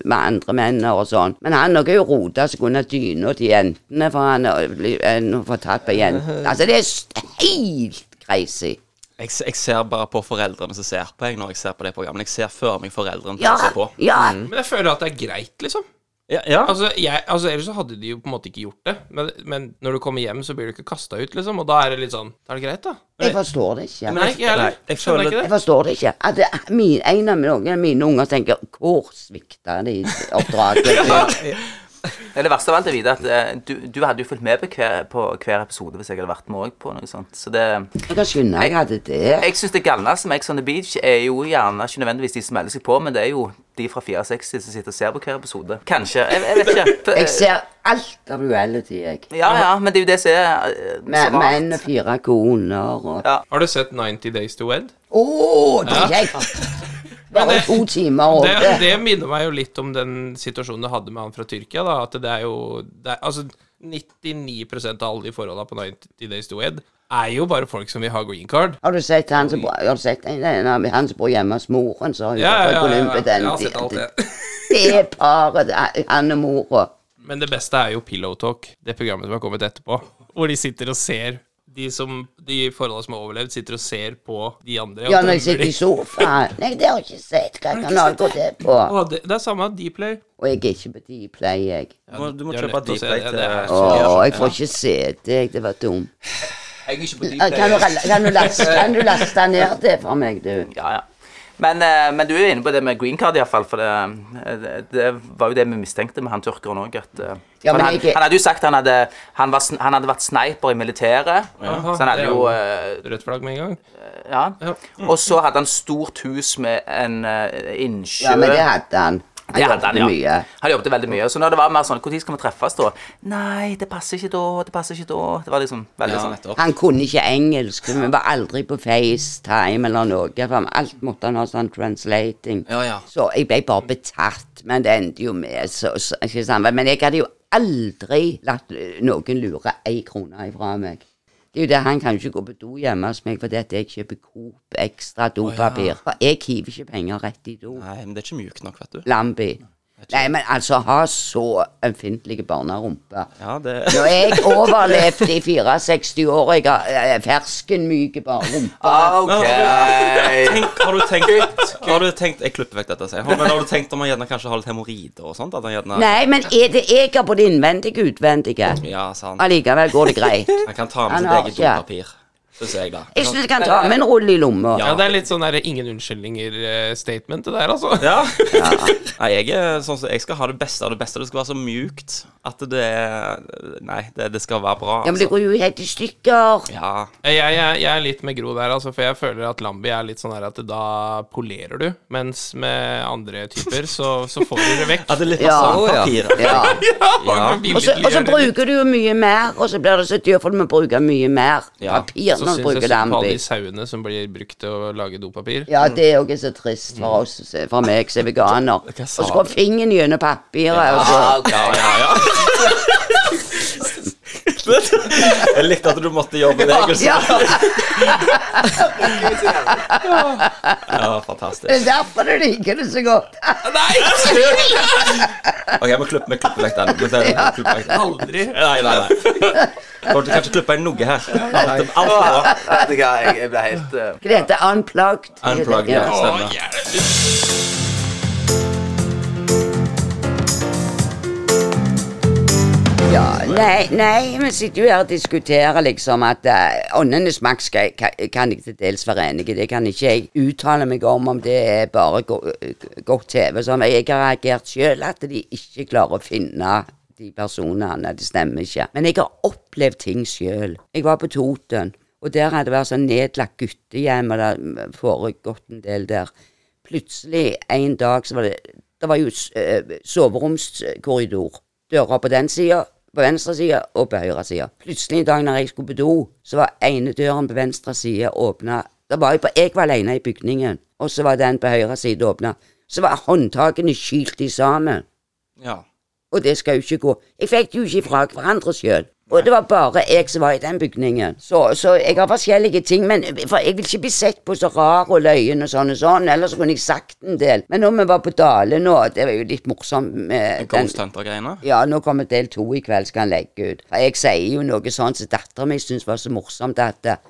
Speaker 5: med andre menn og sånn. Men han har jo rota seg under dyna til jentene, for han har bli- han har fått tatt på jentene. Altså, det er s- helt crazy.
Speaker 4: Jeg, jeg ser bare på foreldrene som ser på, jeg, når jeg ser på det programmet. Jeg ser før meg foreldrene
Speaker 5: Ja,
Speaker 4: som ser på.
Speaker 5: ja.
Speaker 2: Men jeg føler at det er greit, liksom.
Speaker 4: Ja, ja.
Speaker 2: Altså, jeg, altså Ellers så hadde de jo på en måte ikke gjort det. Men, men når du kommer hjem, så blir du ikke kasta ut, liksom. Og da er det litt sånn Da er det greit, da.
Speaker 5: Jeg forstår det ikke.
Speaker 2: Nei, ikke jeg
Speaker 4: Nei,
Speaker 2: heller.
Speaker 4: jeg
Speaker 2: Skjønner
Speaker 4: føler-
Speaker 2: ikke
Speaker 5: Jeg
Speaker 2: det.
Speaker 5: forstår det ikke. At det, min, en av noen av mine unger tenker Hvor svikta de oppdraget?
Speaker 3: Det er det verste av alt er å vite at eh, du, du hadde jo fulgt med på hver, på hver episode hvis jeg hadde vært med òg på noe sånt. Så det
Speaker 5: Jeg kan skjønne jeg hadde det.
Speaker 3: Jeg syns det galneste med Ex on the Beach er jo gjerne ikke nødvendigvis de som melder seg på, men det er jo de fra 64 som sitter og ser på hver episode. Kanskje. Jeg, jeg vet ikke. For,
Speaker 5: Jeg ser alt av reality, jeg.
Speaker 3: ja, ja, men det er jo det som er eh, så
Speaker 5: Med
Speaker 3: rart.
Speaker 5: menn og fire koner og Å,
Speaker 3: Ja.
Speaker 2: Har du sett 90 Days to Wed?
Speaker 5: det er kjekt! Bare
Speaker 2: det-
Speaker 5: to timer
Speaker 2: Det,
Speaker 5: og det.
Speaker 2: det minner meg jo litt om den situasjonen du hadde med han fra Tyrkia, da. At det er jo det er, Altså, 99 av alle de forholda på 90 Days to Ed er jo bare folk som vil ha green card.
Speaker 5: Har du sett han som bor, har du sett en, en, av- han som bor hjemme hos moren, så har hun
Speaker 2: Ja, ja, ja, ja, ja. Jeg
Speaker 5: den,
Speaker 2: har sett alt det.
Speaker 5: det er paret, det er han og mora.
Speaker 2: Men det beste er jo Pillow Talk, det programmet som har kommet etterpå. Hvor de sitter og ser De, som, de forholda som har overlevd, sitter og ser på de andre. og
Speaker 5: Ja, når
Speaker 2: dømmer
Speaker 5: jeg sitter i
Speaker 2: de.
Speaker 5: sofaen Nei, det har jeg ikke sett. Hva kanal går det på?
Speaker 2: Å, det, det er samme Dplay.
Speaker 5: Og jeg er ikke på Dplay, jeg.
Speaker 4: Du må, du må
Speaker 2: det er
Speaker 4: kjøpe eh.
Speaker 2: lett å se
Speaker 4: Dplay
Speaker 2: det,
Speaker 4: til
Speaker 2: det er
Speaker 5: Å, jeg får ikke se det. Det var dumt.
Speaker 3: Jeg er ikke på
Speaker 5: Kan du, kan du, laste, kan du laste ned det for meg, du?
Speaker 3: Ja, ja. Men, eh, men du er jo inne på det med green card, iallfall. For det, eh, det, det var jo det vi mistenkte med han tyrkeren òg.
Speaker 5: Ja, men
Speaker 3: han,
Speaker 5: jeg-
Speaker 3: han hadde jo sagt han hadde, han, var, sn- han hadde vært sniper i militæret.
Speaker 2: Aha,
Speaker 3: så han
Speaker 2: det
Speaker 3: hadde
Speaker 2: er
Speaker 3: jo
Speaker 2: jo-
Speaker 3: eh,
Speaker 2: Rødt flagg med en gang.
Speaker 3: ja. Og så hadde han stort hus med en eh, innsjø.
Speaker 5: Ja, men det hadde han.
Speaker 3: Det
Speaker 5: Han
Speaker 3: hadde han,
Speaker 5: jobbet
Speaker 3: ja.
Speaker 5: mye.
Speaker 3: Han jobbet veldig mye. Så når det var mer sånn Når skal vi treffes, da? Nei, det passer ikke da. Det passer ikke da. Det var liksom veldig
Speaker 4: Ja,
Speaker 3: sånn
Speaker 4: nettopp.
Speaker 5: Han kunne ikke engelsk, så vi var aldri på FaceTime eller noe. For alt måtte han ha sånn translating.
Speaker 4: Ja, ja.
Speaker 5: Så jeg ble bare betatt, men det endte jo med så, så, ikke sant? Men jeg hadde jo aldri latt noen lure ei krone ifra meg. Det er jo det, Han kan jo ikke gå på do hjemme hos meg fordi at jeg kjøper Coop ekstra dopapir. For jeg hiver ikke penger rett i do.
Speaker 4: Nei, men det er ikke mjukt nok, vet du.
Speaker 5: Lambi. Nei, men altså, ha så ømfintlige barnerumper.
Speaker 4: Ja, det
Speaker 5: Når jeg overlevde i 64 år, jeg har eh, fersken myke
Speaker 3: Ah.
Speaker 5: barnerumpe.
Speaker 3: OK.
Speaker 4: Tenk, har du tenkt Har du tenkt Jeg klipper vekk dette, sier jeg. Men har du tenkt om han gjerne kanskje har litt hemoroider og sånt? At han gjerne
Speaker 5: Nei, men er det jeg har både innvendige og utvendige?
Speaker 4: Ja, sant.
Speaker 5: Allikevel går det greit.
Speaker 4: Han kan ta med
Speaker 5: Han
Speaker 4: sitt
Speaker 5: har
Speaker 4: eget
Speaker 5: ikke.
Speaker 4: dopapir, syns jeg, da.
Speaker 5: Jeg syns jeg kan ta med en rulle i lomma.
Speaker 2: Ja, det er litt sånn der ingen unnskyldninger-statement, det der, altså.
Speaker 4: Ja. Nei, jeg er sånn som Jeg skal ha det beste av det beste. Det skal være så mjukt at det er Nei, det, det skal være bra.
Speaker 5: Ja, men det
Speaker 4: altså.
Speaker 5: går jo helt i stykker.
Speaker 4: Ja.
Speaker 2: Jeg, jeg, jeg er litt med Gro der, altså, for jeg føler at Lambi er litt sånn her at da polerer du, mens med andre typer så, så får du det vekk.
Speaker 4: At det er litt sånn
Speaker 5: Ja.
Speaker 4: sandpapir.
Speaker 5: Ja.
Speaker 2: Ja, man vil
Speaker 5: Og så,
Speaker 2: virkelig
Speaker 5: og så
Speaker 2: gjøre det.
Speaker 5: bruker du jo mye mer, og så blir det så dyrt, for du må bruke mye mer
Speaker 4: Ja,
Speaker 5: papir
Speaker 2: Så
Speaker 5: når
Speaker 2: syns
Speaker 5: du
Speaker 2: jeg
Speaker 5: bruker
Speaker 2: synd på alle
Speaker 5: Lambi.
Speaker 2: de sauene som blir brukt til å lage dopapir.
Speaker 5: Ja, det er òg så trist for oss, for meg som er veganer.
Speaker 4: Hva
Speaker 5: Og
Speaker 4: sa
Speaker 5: så går fingeren gjennom papiret, og så
Speaker 4: Ja, ja, ja. Jeg likte at du måtte gjøre bevegelser.
Speaker 5: Ja,
Speaker 4: Ja,
Speaker 5: det er
Speaker 4: fantastisk.
Speaker 5: derfor du liker det så godt.
Speaker 4: Ok, vi klipper vi klipper vekk den. Vi klipper vekk den.
Speaker 2: Aldri.
Speaker 4: Nei, nei, nei.
Speaker 9: Får du kanskje klippe inn noe her? Alt, alt er bra.
Speaker 3: Vet du hva, jeg, jeg ble helt eh,
Speaker 5: Hva det heter Unplugged?
Speaker 9: Unplugged, ja. Stemmer.
Speaker 5: ja. Nei, nei, vi sitter jo her og diskuterer liksom at eh, åndenes makt skal, kan, kan jeg til dels være enig i. Det kan ikke jeg uttale meg om, om det er bare go godt TV. Sånn. Jeg har reagert sjøl at de ikke klarer å finne de personene. Det stemmer ikke. Men jeg har opplevd ting sjøl. Jeg var på Toten, og der hadde det vært sånn nedlagt guttehjem, og det hadde foregått en del der plutselig en dag så var det Det var jo s- eh, soveromskorridor. Døra på den sida, på venstre side og på høyre side. Plutselig en dag når jeg skulle på do, så var ene døren på venstre side åpna. Da var jeg, på, jeg var alene i bygningen, og så var den på høyre side åpna. Så var håndtakene kylt i sammen.
Speaker 9: Ja.
Speaker 5: Og det skal jo ikke gå. Jeg fikk det jo ikke fra hverandre sjøl. Og det var bare jeg som var i den bygningen. Så, så jeg har forskjellige ting. Men for jeg vil ikke bli sett på så rar og løyen og sånn og sånn. Ellers kunne jeg sagt en del. Men når vi var på Dale nå, det var jo litt morsomt med den
Speaker 9: Ghost Hunter-greiene.
Speaker 5: ja, nå kommer del to i kveld, skal han legge ut. For jeg sier jo noe sånt som dattera mi syntes var så morsomt, at eh,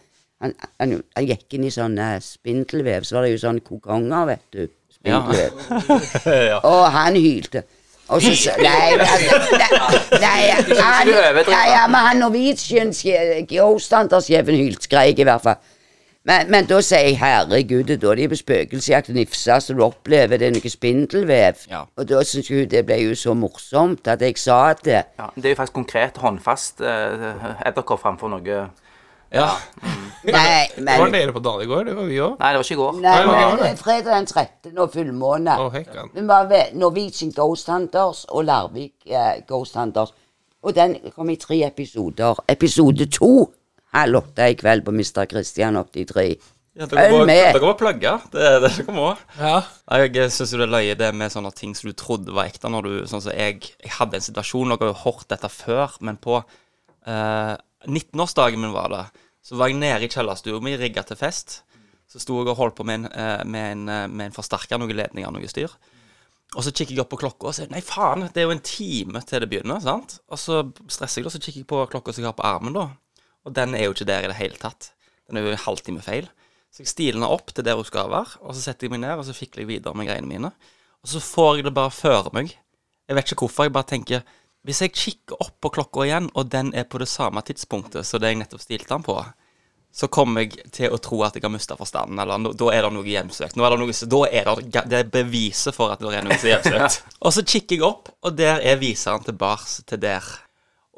Speaker 5: han, han, han gikk inn i sånn eh, spindelvev, så var det jo sånn kokonger, vet du. Spindelvev. Og han hylte. Og så sa Nei, nei, nei, nei, han, nei ja, men han norwegian Ghost-hunter-sjefen hylte, skreik i hvert fall. Men, men da sier jeg herregud, det er da de er på spøkelsesjakt og nifser, så du opplever det er noe spindelvev.
Speaker 9: Ja.
Speaker 5: Og da syns hun det ble jo så morsomt at jeg sa det.
Speaker 3: ja, Det er jo faktisk konkret, håndfast eh, edderkopp framfor noe
Speaker 9: Ja.
Speaker 5: Nei,
Speaker 2: Det var
Speaker 5: men
Speaker 2: dere på Dale i går, det var vi òg.
Speaker 3: Nei, det var ikke i går.
Speaker 5: Nei,
Speaker 2: Nei, hva var
Speaker 5: men fredag den 13. og fullmåne.
Speaker 2: Å, hekkan.
Speaker 5: Vi var ved Norwegian Ghost Hunters og Larvik eh, Ghost Hunters. Og den kom i tre episoder. Episode to halv åtte i kveld på Mr. Christian 83.
Speaker 9: Ja, dere må-
Speaker 5: Følg med.
Speaker 9: Dere må plugge. Det det dere må.
Speaker 2: Ja.
Speaker 9: Jeg syns det er løye det med sånne ting som du trodde var ekte. Når du, sånn som jeg, jeg hadde en situasjon, dere har jo hørt dette før, men på eh, 19-årsdagen min var det, så var jeg nede i kjellerstua mi, rigga til fest. Så sto jeg og holdt på med en, eh, med en, eh, med en forsterker, noen ledninger, noe styr. Og så kikker jeg opp på klokka og sier nei, faen, det er jo en time til det begynner. sant? Og så stresser jeg, og så kikker jeg på klokka som jeg har på armen, da. Og den er jo ikke der i det hele tatt. Den er jo en halvtime feil. Så jeg stilner opp til der hun skal være, og så setter jeg meg ned, og så fikler jeg videre med greiene mine. Og så får jeg det bare føre meg. Jeg vet ikke hvorfor, jeg bare tenker Hvis jeg kikker opp på klokka igjen, og den er på det samme tidspunktet som det jeg nettopp stilte den på, så kommer jeg til å tro at jeg har mista forstanden, eller no, da er det noe hjemsøkt. Nå er det noe, som- da er det, ga- det er beviset for at det er noe som er hjemsøkt. og så kikker jeg opp, og der er viseren tilbake til der.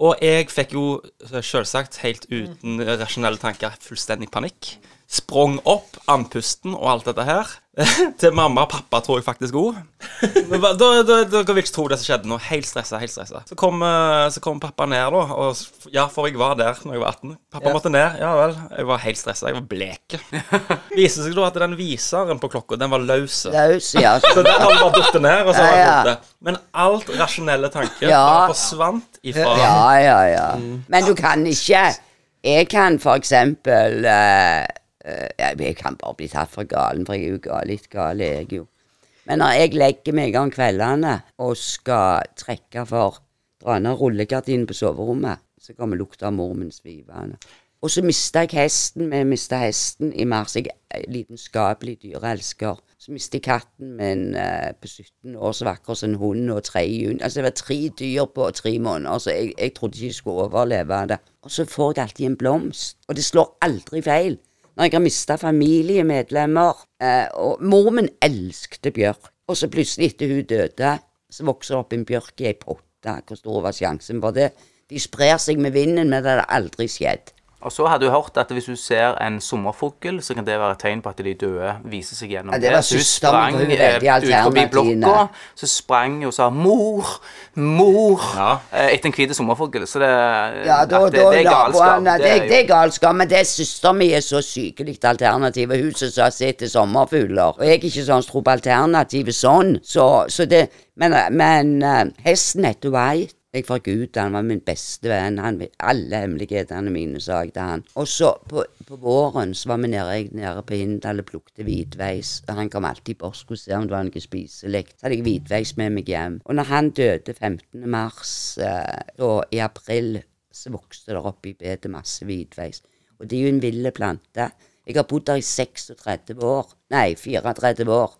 Speaker 9: Og jeg fikk jo selvsagt, helt
Speaker 5: Mm.
Speaker 9: uten rasjonelle tanker, fullstendig panikk. Sprang opp, andpusten og alt dette her. til mamma og pappa, tror jeg faktisk òg. Dere vil ikke tro det som skjedde nå. Helt stressa, helt stressa. Så kom, eh, så kom pappa ned, da. Og, s- ja, for jeg var der når jeg var 18. Pappa måtte ned. Ja vel. Jeg var helt stressa. Jeg var blek. Viste seg da at den viseren på klokka, den var løs.
Speaker 5: Laus, ja.
Speaker 9: Så den hadde bare datt ned, og så var
Speaker 5: Ja,
Speaker 9: den
Speaker 5: ja.
Speaker 9: borte. Men alt rasjonelle tanker
Speaker 5: Ja.
Speaker 9: bare forsvant ifra
Speaker 5: Ja, ja, ja. Men du kan ikke Jeg kan for eksempel eh, eh, Jeg kan bare bli tatt for galen, for jeg er jo gal, litt gal, er jeg jo. Men når jeg legger meg om kveldene og skal trekke for Dra ned rullegardinen på soverommet, så kommer lukta av mormen svivende. Og så mista jeg hesten. Vi mista hesten i mars. Jeg er en lidenskapelig dyreelsker. Så mista jeg katten min eh, på 17 år, så vakker som en hund, og tre jun. Altså, det var tre dyr på tre måneder, så jeg, jeg trodde ikke jeg skulle overleve det. Og så får jeg alltid en blomst, og det slår aldri feil. Når jeg har mista familiemedlemmer eh, Og mor min elskte bjørk. Og så plutselig, etter hun døde, så vokser det opp en bjørk i ei potte. Hvor stor var sjansen for det? De sprer seg med vinden, men det hadde aldri skjedd.
Speaker 3: Og så hadde du hørt at hvis du ser en sommerfugl, så kan det være et tegn på at de døde viser seg gjennom
Speaker 5: Ja, det var
Speaker 3: Så hun
Speaker 5: søsteren,
Speaker 3: sprang,
Speaker 5: for hun er
Speaker 3: eh,
Speaker 5: veldig
Speaker 3: ut forbi
Speaker 5: alternativ,
Speaker 3: blokka, så sprang hun og sa 'mor, mor'
Speaker 9: Ja.
Speaker 3: eh, etter en hvit sommerfugl. Så det,
Speaker 5: Ja, da,
Speaker 3: at det, det er galskap.
Speaker 5: Det,
Speaker 3: det er
Speaker 5: det,
Speaker 3: jo-
Speaker 5: er galskap, men det søsteren min er så sykelig alternativ. og Hun som sa se til sommerfugler. Og jeg er ikke sånn som tror på alternativet sånn. Så, så det Men, men eh, hesten heter White. Jeg forgudet han var min beste venn. Han, vet- alle hemmelighetene mine sa jeg til han. Og så på, på våren så var vi nede, jeg nede på Hindal og plukket hvitveis. Og han kom alltid bort skulle se om det var noe spiselig. Så hadde jeg hvitveis med meg hjem. Og når han døde 15. mars, eh, da i april så vokste der oppe i bedet masse hvitveis. Og det er jo en ville plante. Jeg har bodd der i 36 år. Nei, 34 år.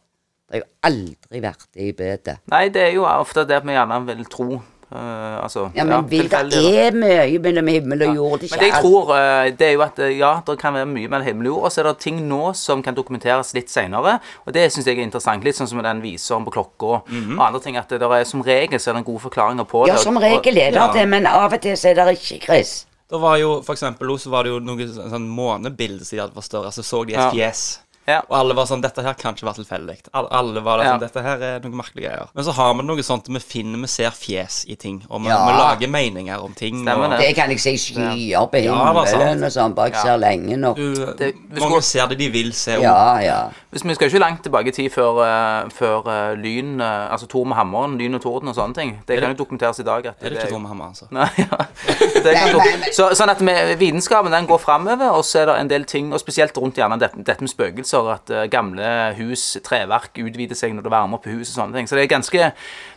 Speaker 5: Det har jo aldri vært det i bedet.
Speaker 3: Nei, det er jo ofte det vi gjerne vil tro. eh, altså,
Speaker 5: Ja, men vil det
Speaker 3: tilfeldig, da.
Speaker 5: er mye mellom himmel og jord. Det
Speaker 3: Men
Speaker 5: er
Speaker 3: det jeg
Speaker 5: ikke alt.
Speaker 3: tror, eh, det er jo at eh, ja, det kan være mye mellom himmel og jord, og så er det ting nå som kan dokumenteres litt senere, og det syns jeg er interessant. Litt sånn som den viseren på klokka og andre ting, at det der er som regel så er det en god forklaring på
Speaker 5: Ja,
Speaker 3: det.
Speaker 5: som
Speaker 3: og-
Speaker 5: regel er det
Speaker 4: Ja.
Speaker 5: det, men av og til så er det ikke, Chris.
Speaker 4: Da var jo, for eksempel, så var det jo noe sånn- sånn månebilde som de hadde forstørret, så så de et
Speaker 3: Ja.
Speaker 4: fjes.
Speaker 3: Ja.
Speaker 4: Og alle var sånn, dette her kan ikke være tilfeldig. Al- Alle var der,
Speaker 3: Ja.
Speaker 4: sånn, dette her er noe merkelig greier. Men så har vi noe sånt, vi finner, vi ser fjes i ting, og vi,
Speaker 5: Ja.
Speaker 4: vi lager meninger om ting.
Speaker 3: Stemmer
Speaker 4: og,
Speaker 3: det.
Speaker 5: Det kan jeg si skyer på
Speaker 4: Ja, det er sant.
Speaker 5: himmelen og sånn, bare jeg
Speaker 3: Ja.
Speaker 5: ser lenge nok.
Speaker 4: Du,
Speaker 3: Det- vi
Speaker 4: mange
Speaker 3: skulle-
Speaker 4: ser det de vil se. og-
Speaker 5: Ja, ja.
Speaker 3: Hvis vi skal jo ikke langt tilbake i tid før, eh, før eh, lyn, eh, altså Tor med hammeren, lyn og torden og sånne ting. Det kan jo dokumenteres i dag. At
Speaker 4: Er det ikke Tom Hammer, altså?
Speaker 3: Nei, ja. Det kan
Speaker 5: Nei, nei, nei.
Speaker 3: dok- så, sånn at vi- vitenskapen den går framover, og så er det en del ting, og spesielt rundt gjerne dette, dette med spøkelser, at eh, gamle hus, treverk utvider seg når det varmer opp i huset og sånne ting. Så det er ganske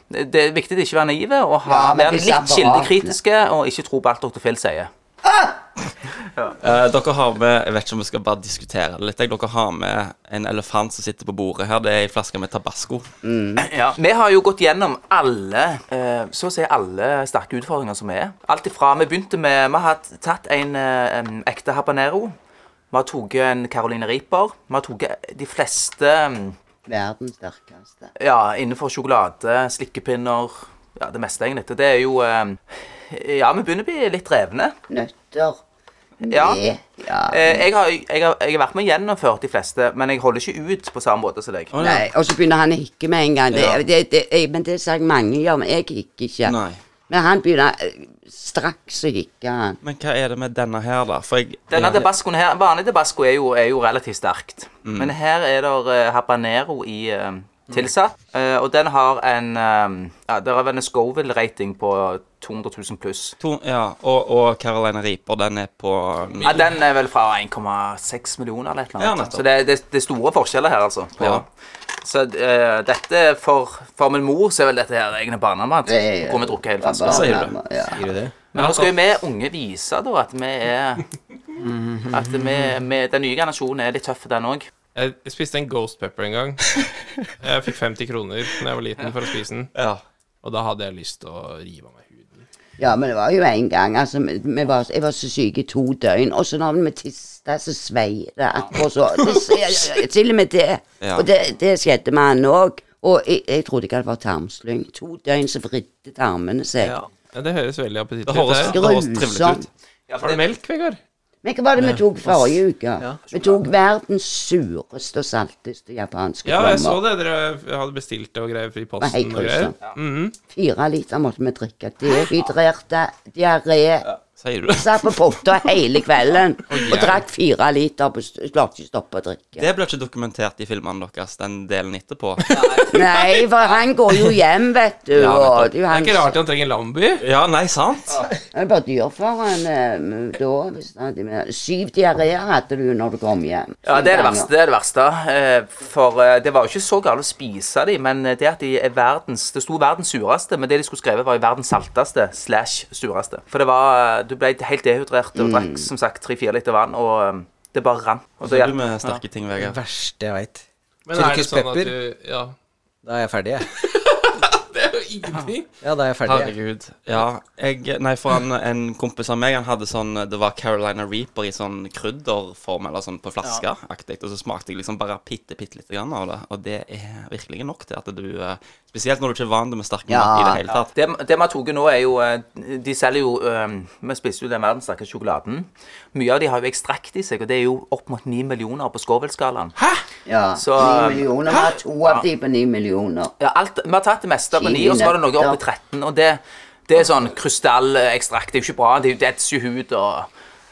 Speaker 3: det er viktig å ikke være naive og ha,
Speaker 5: Ja, men
Speaker 3: være
Speaker 5: disse
Speaker 3: litt
Speaker 5: apparatene.
Speaker 3: kildekritiske og ikke tro på alt dr. Phil sier.
Speaker 4: Eh, dere har med, jeg vet ikke om vi skal bare diskutere det litt, jeg. dere har med en elefant som sitter på bordet her, det er en flaske med tabasco.
Speaker 3: Mm. Ja. Vi har jo gått gjennom alle eh, så å si alle sterke utfordringer som er. Alt ifra Vi begynte med Vi har tatt en, eh, en ekte habanero. Vi har tatt en Caroline Reaper. Vi har tatt de fleste mm,
Speaker 5: Verdens sterkeste.
Speaker 3: Ja, innenfor sjokolade, slikkepinner Ja, det meste egentlig. Det er jo eh, Ja, vi begynner å bli litt drevne.
Speaker 5: Nøtter.
Speaker 3: Ja.
Speaker 5: Med. ja.
Speaker 3: Eh, jeg, har, jeg, har, jeg har vært med og gjennomført de fleste, men jeg holder ikke ut på samme måte som deg.
Speaker 5: Nei, og så begynner han å hikke med en gang. Det,
Speaker 4: Ja.
Speaker 5: det, det, jeg, men det sa jeg mange gjør, men jeg hikker ikke.
Speaker 4: Nei.
Speaker 5: Men han begynner eh, straks å hikke, han.
Speaker 4: Men hva er det med denne her, da? For jeg
Speaker 3: Denne
Speaker 4: jeg-
Speaker 3: tabascoen her, Vanlig tabasco er jo, er jo relativt sterkt,
Speaker 4: Mm.
Speaker 3: men her er det habanero i eh, tilsatt. Eh, og den har en eh, ja, Der er vel en Scoville-rating på 200 000 pluss.
Speaker 4: to, Ja, og, og Caroline Reaper, den er på
Speaker 3: Ja, den er vel fra 1,6 millioner eller et eller
Speaker 4: Ja,
Speaker 3: annet.
Speaker 4: nettopp.
Speaker 3: så det, er- det, det er store forskjeller her, altså. på-
Speaker 4: Ja.
Speaker 3: Så eh, dette er for, for min mor så er vel dette her egne barnemat.
Speaker 5: Det er-
Speaker 3: Hvor vi drukker hele flaska.
Speaker 5: Bare
Speaker 4: sier du?
Speaker 5: nærmere, Ja.
Speaker 2: Sier du det?
Speaker 3: Men nå skal jo vi unge vise da at vi er At vi, vi, den nye generasjonen er litt tøff, den òg.
Speaker 2: Jeg spiste en ghost pepper en gang. Jeg fikk 50 kroner da jeg var liten for å spise den,
Speaker 4: Ja.
Speaker 2: og da hadde jeg lyst til å rive av meg huden.
Speaker 5: ja, men det var jo en gang. Altså, vi- vi var, jeg var så syk i to døgn, og så når vi tista, så svei det akkurat så. Det, ja, ja, ja, til og med det.
Speaker 4: Ja.
Speaker 5: Og det, det skjedde med han òg. Og jeg, jeg trodde ikke det var tarmslyng. To døgn så vridde tarmene seg.
Speaker 4: Ja.
Speaker 2: Ja, det høres veldig appetittlig
Speaker 4: Det
Speaker 2: ut.
Speaker 4: høres,
Speaker 2: det.
Speaker 4: det høres trivelig ut.
Speaker 5: Grusomt.
Speaker 2: Har du melk, Vegard?
Speaker 5: Men hva var det vi tok forrige uke? Vi tok verdens sureste og salteste japanske
Speaker 2: Ja, jeg så
Speaker 5: plommer.
Speaker 2: det. Dere hadde bestilt det og greier i
Speaker 5: var helt
Speaker 2: posten og greier. Mm,
Speaker 5: grusomt. Fire liter måtte vi drikke. Dehydrerte, diaré.
Speaker 4: Sier du det?
Speaker 5: Satt på potta hele kvelden og drakk fire liter på st- klarte ikke å stoppe å drikke.
Speaker 4: Det ble ikke dokumentert i filmene deres, den delen etterpå.
Speaker 5: Nei, for han går jo hjem, vet du.
Speaker 4: Ja, nettopp.
Speaker 5: og det er jo
Speaker 2: Det er
Speaker 5: han
Speaker 2: ikke rart han trenger Lambi.
Speaker 4: Ja, nei, sant?
Speaker 5: Det er bare dyr for han eh, da. Hvis han hadde med. Syv diaré hadde du når du kom hjem.
Speaker 3: Ja, det er det
Speaker 5: Syv
Speaker 3: verste.
Speaker 5: ganger.
Speaker 3: det er det verste. Eh, For eh, det var jo ikke så galt å spise dem, men eh, det at de er verdens Det sto verdens sureste, men det de skulle skrevet, var jo verdens salteste slash sureste. For det var eh, Du ble helt dehydrert og drakk som sagt tre-fire liter vann, og eh, det bare rant. Og
Speaker 4: Så
Speaker 3: det
Speaker 4: er du
Speaker 3: hjelper.
Speaker 4: med sterke ting, Vegard.
Speaker 9: Verste jeg veit.
Speaker 2: Men er det
Speaker 9: Tyrkisk
Speaker 2: sånn at
Speaker 9: pepper?
Speaker 2: du Ja.
Speaker 9: Da er jeg ferdig, jeg.
Speaker 2: Det er jo ingenting.
Speaker 9: Ja, da er jeg ferdig. jeg.
Speaker 4: Herregud. Ja, jeg Nei, for han, en kompis av meg, han hadde sånn Det var Carolina Reaper i sånn krydderform, eller sånn på flaske aktig, og så smakte jeg liksom bare bitte, bitte lite grann av det. Og det er virkelig nok til at du eh, Spesielt når du ikke er vant med sterk mat i det hele tatt.
Speaker 3: Det, det vi har tatt nå, er jo eh, De selger jo eh, Vi spiser jo den verdens sterkeste sjokoladen. Mye av de har jo ekstrakt i seg, og det er jo opp mot ni millioner på Scoville-skalaen.
Speaker 5: Ja.
Speaker 3: Så, eh,
Speaker 5: ni millioner. Vi har to av de på ni millioner.
Speaker 3: Ja, alt, vi har tatt det meste på 9, og så var det noe opp i 13. Og det, det er sånn krystallekstrakt. Det er jo ikke bra. Det er jo detser jo hud og,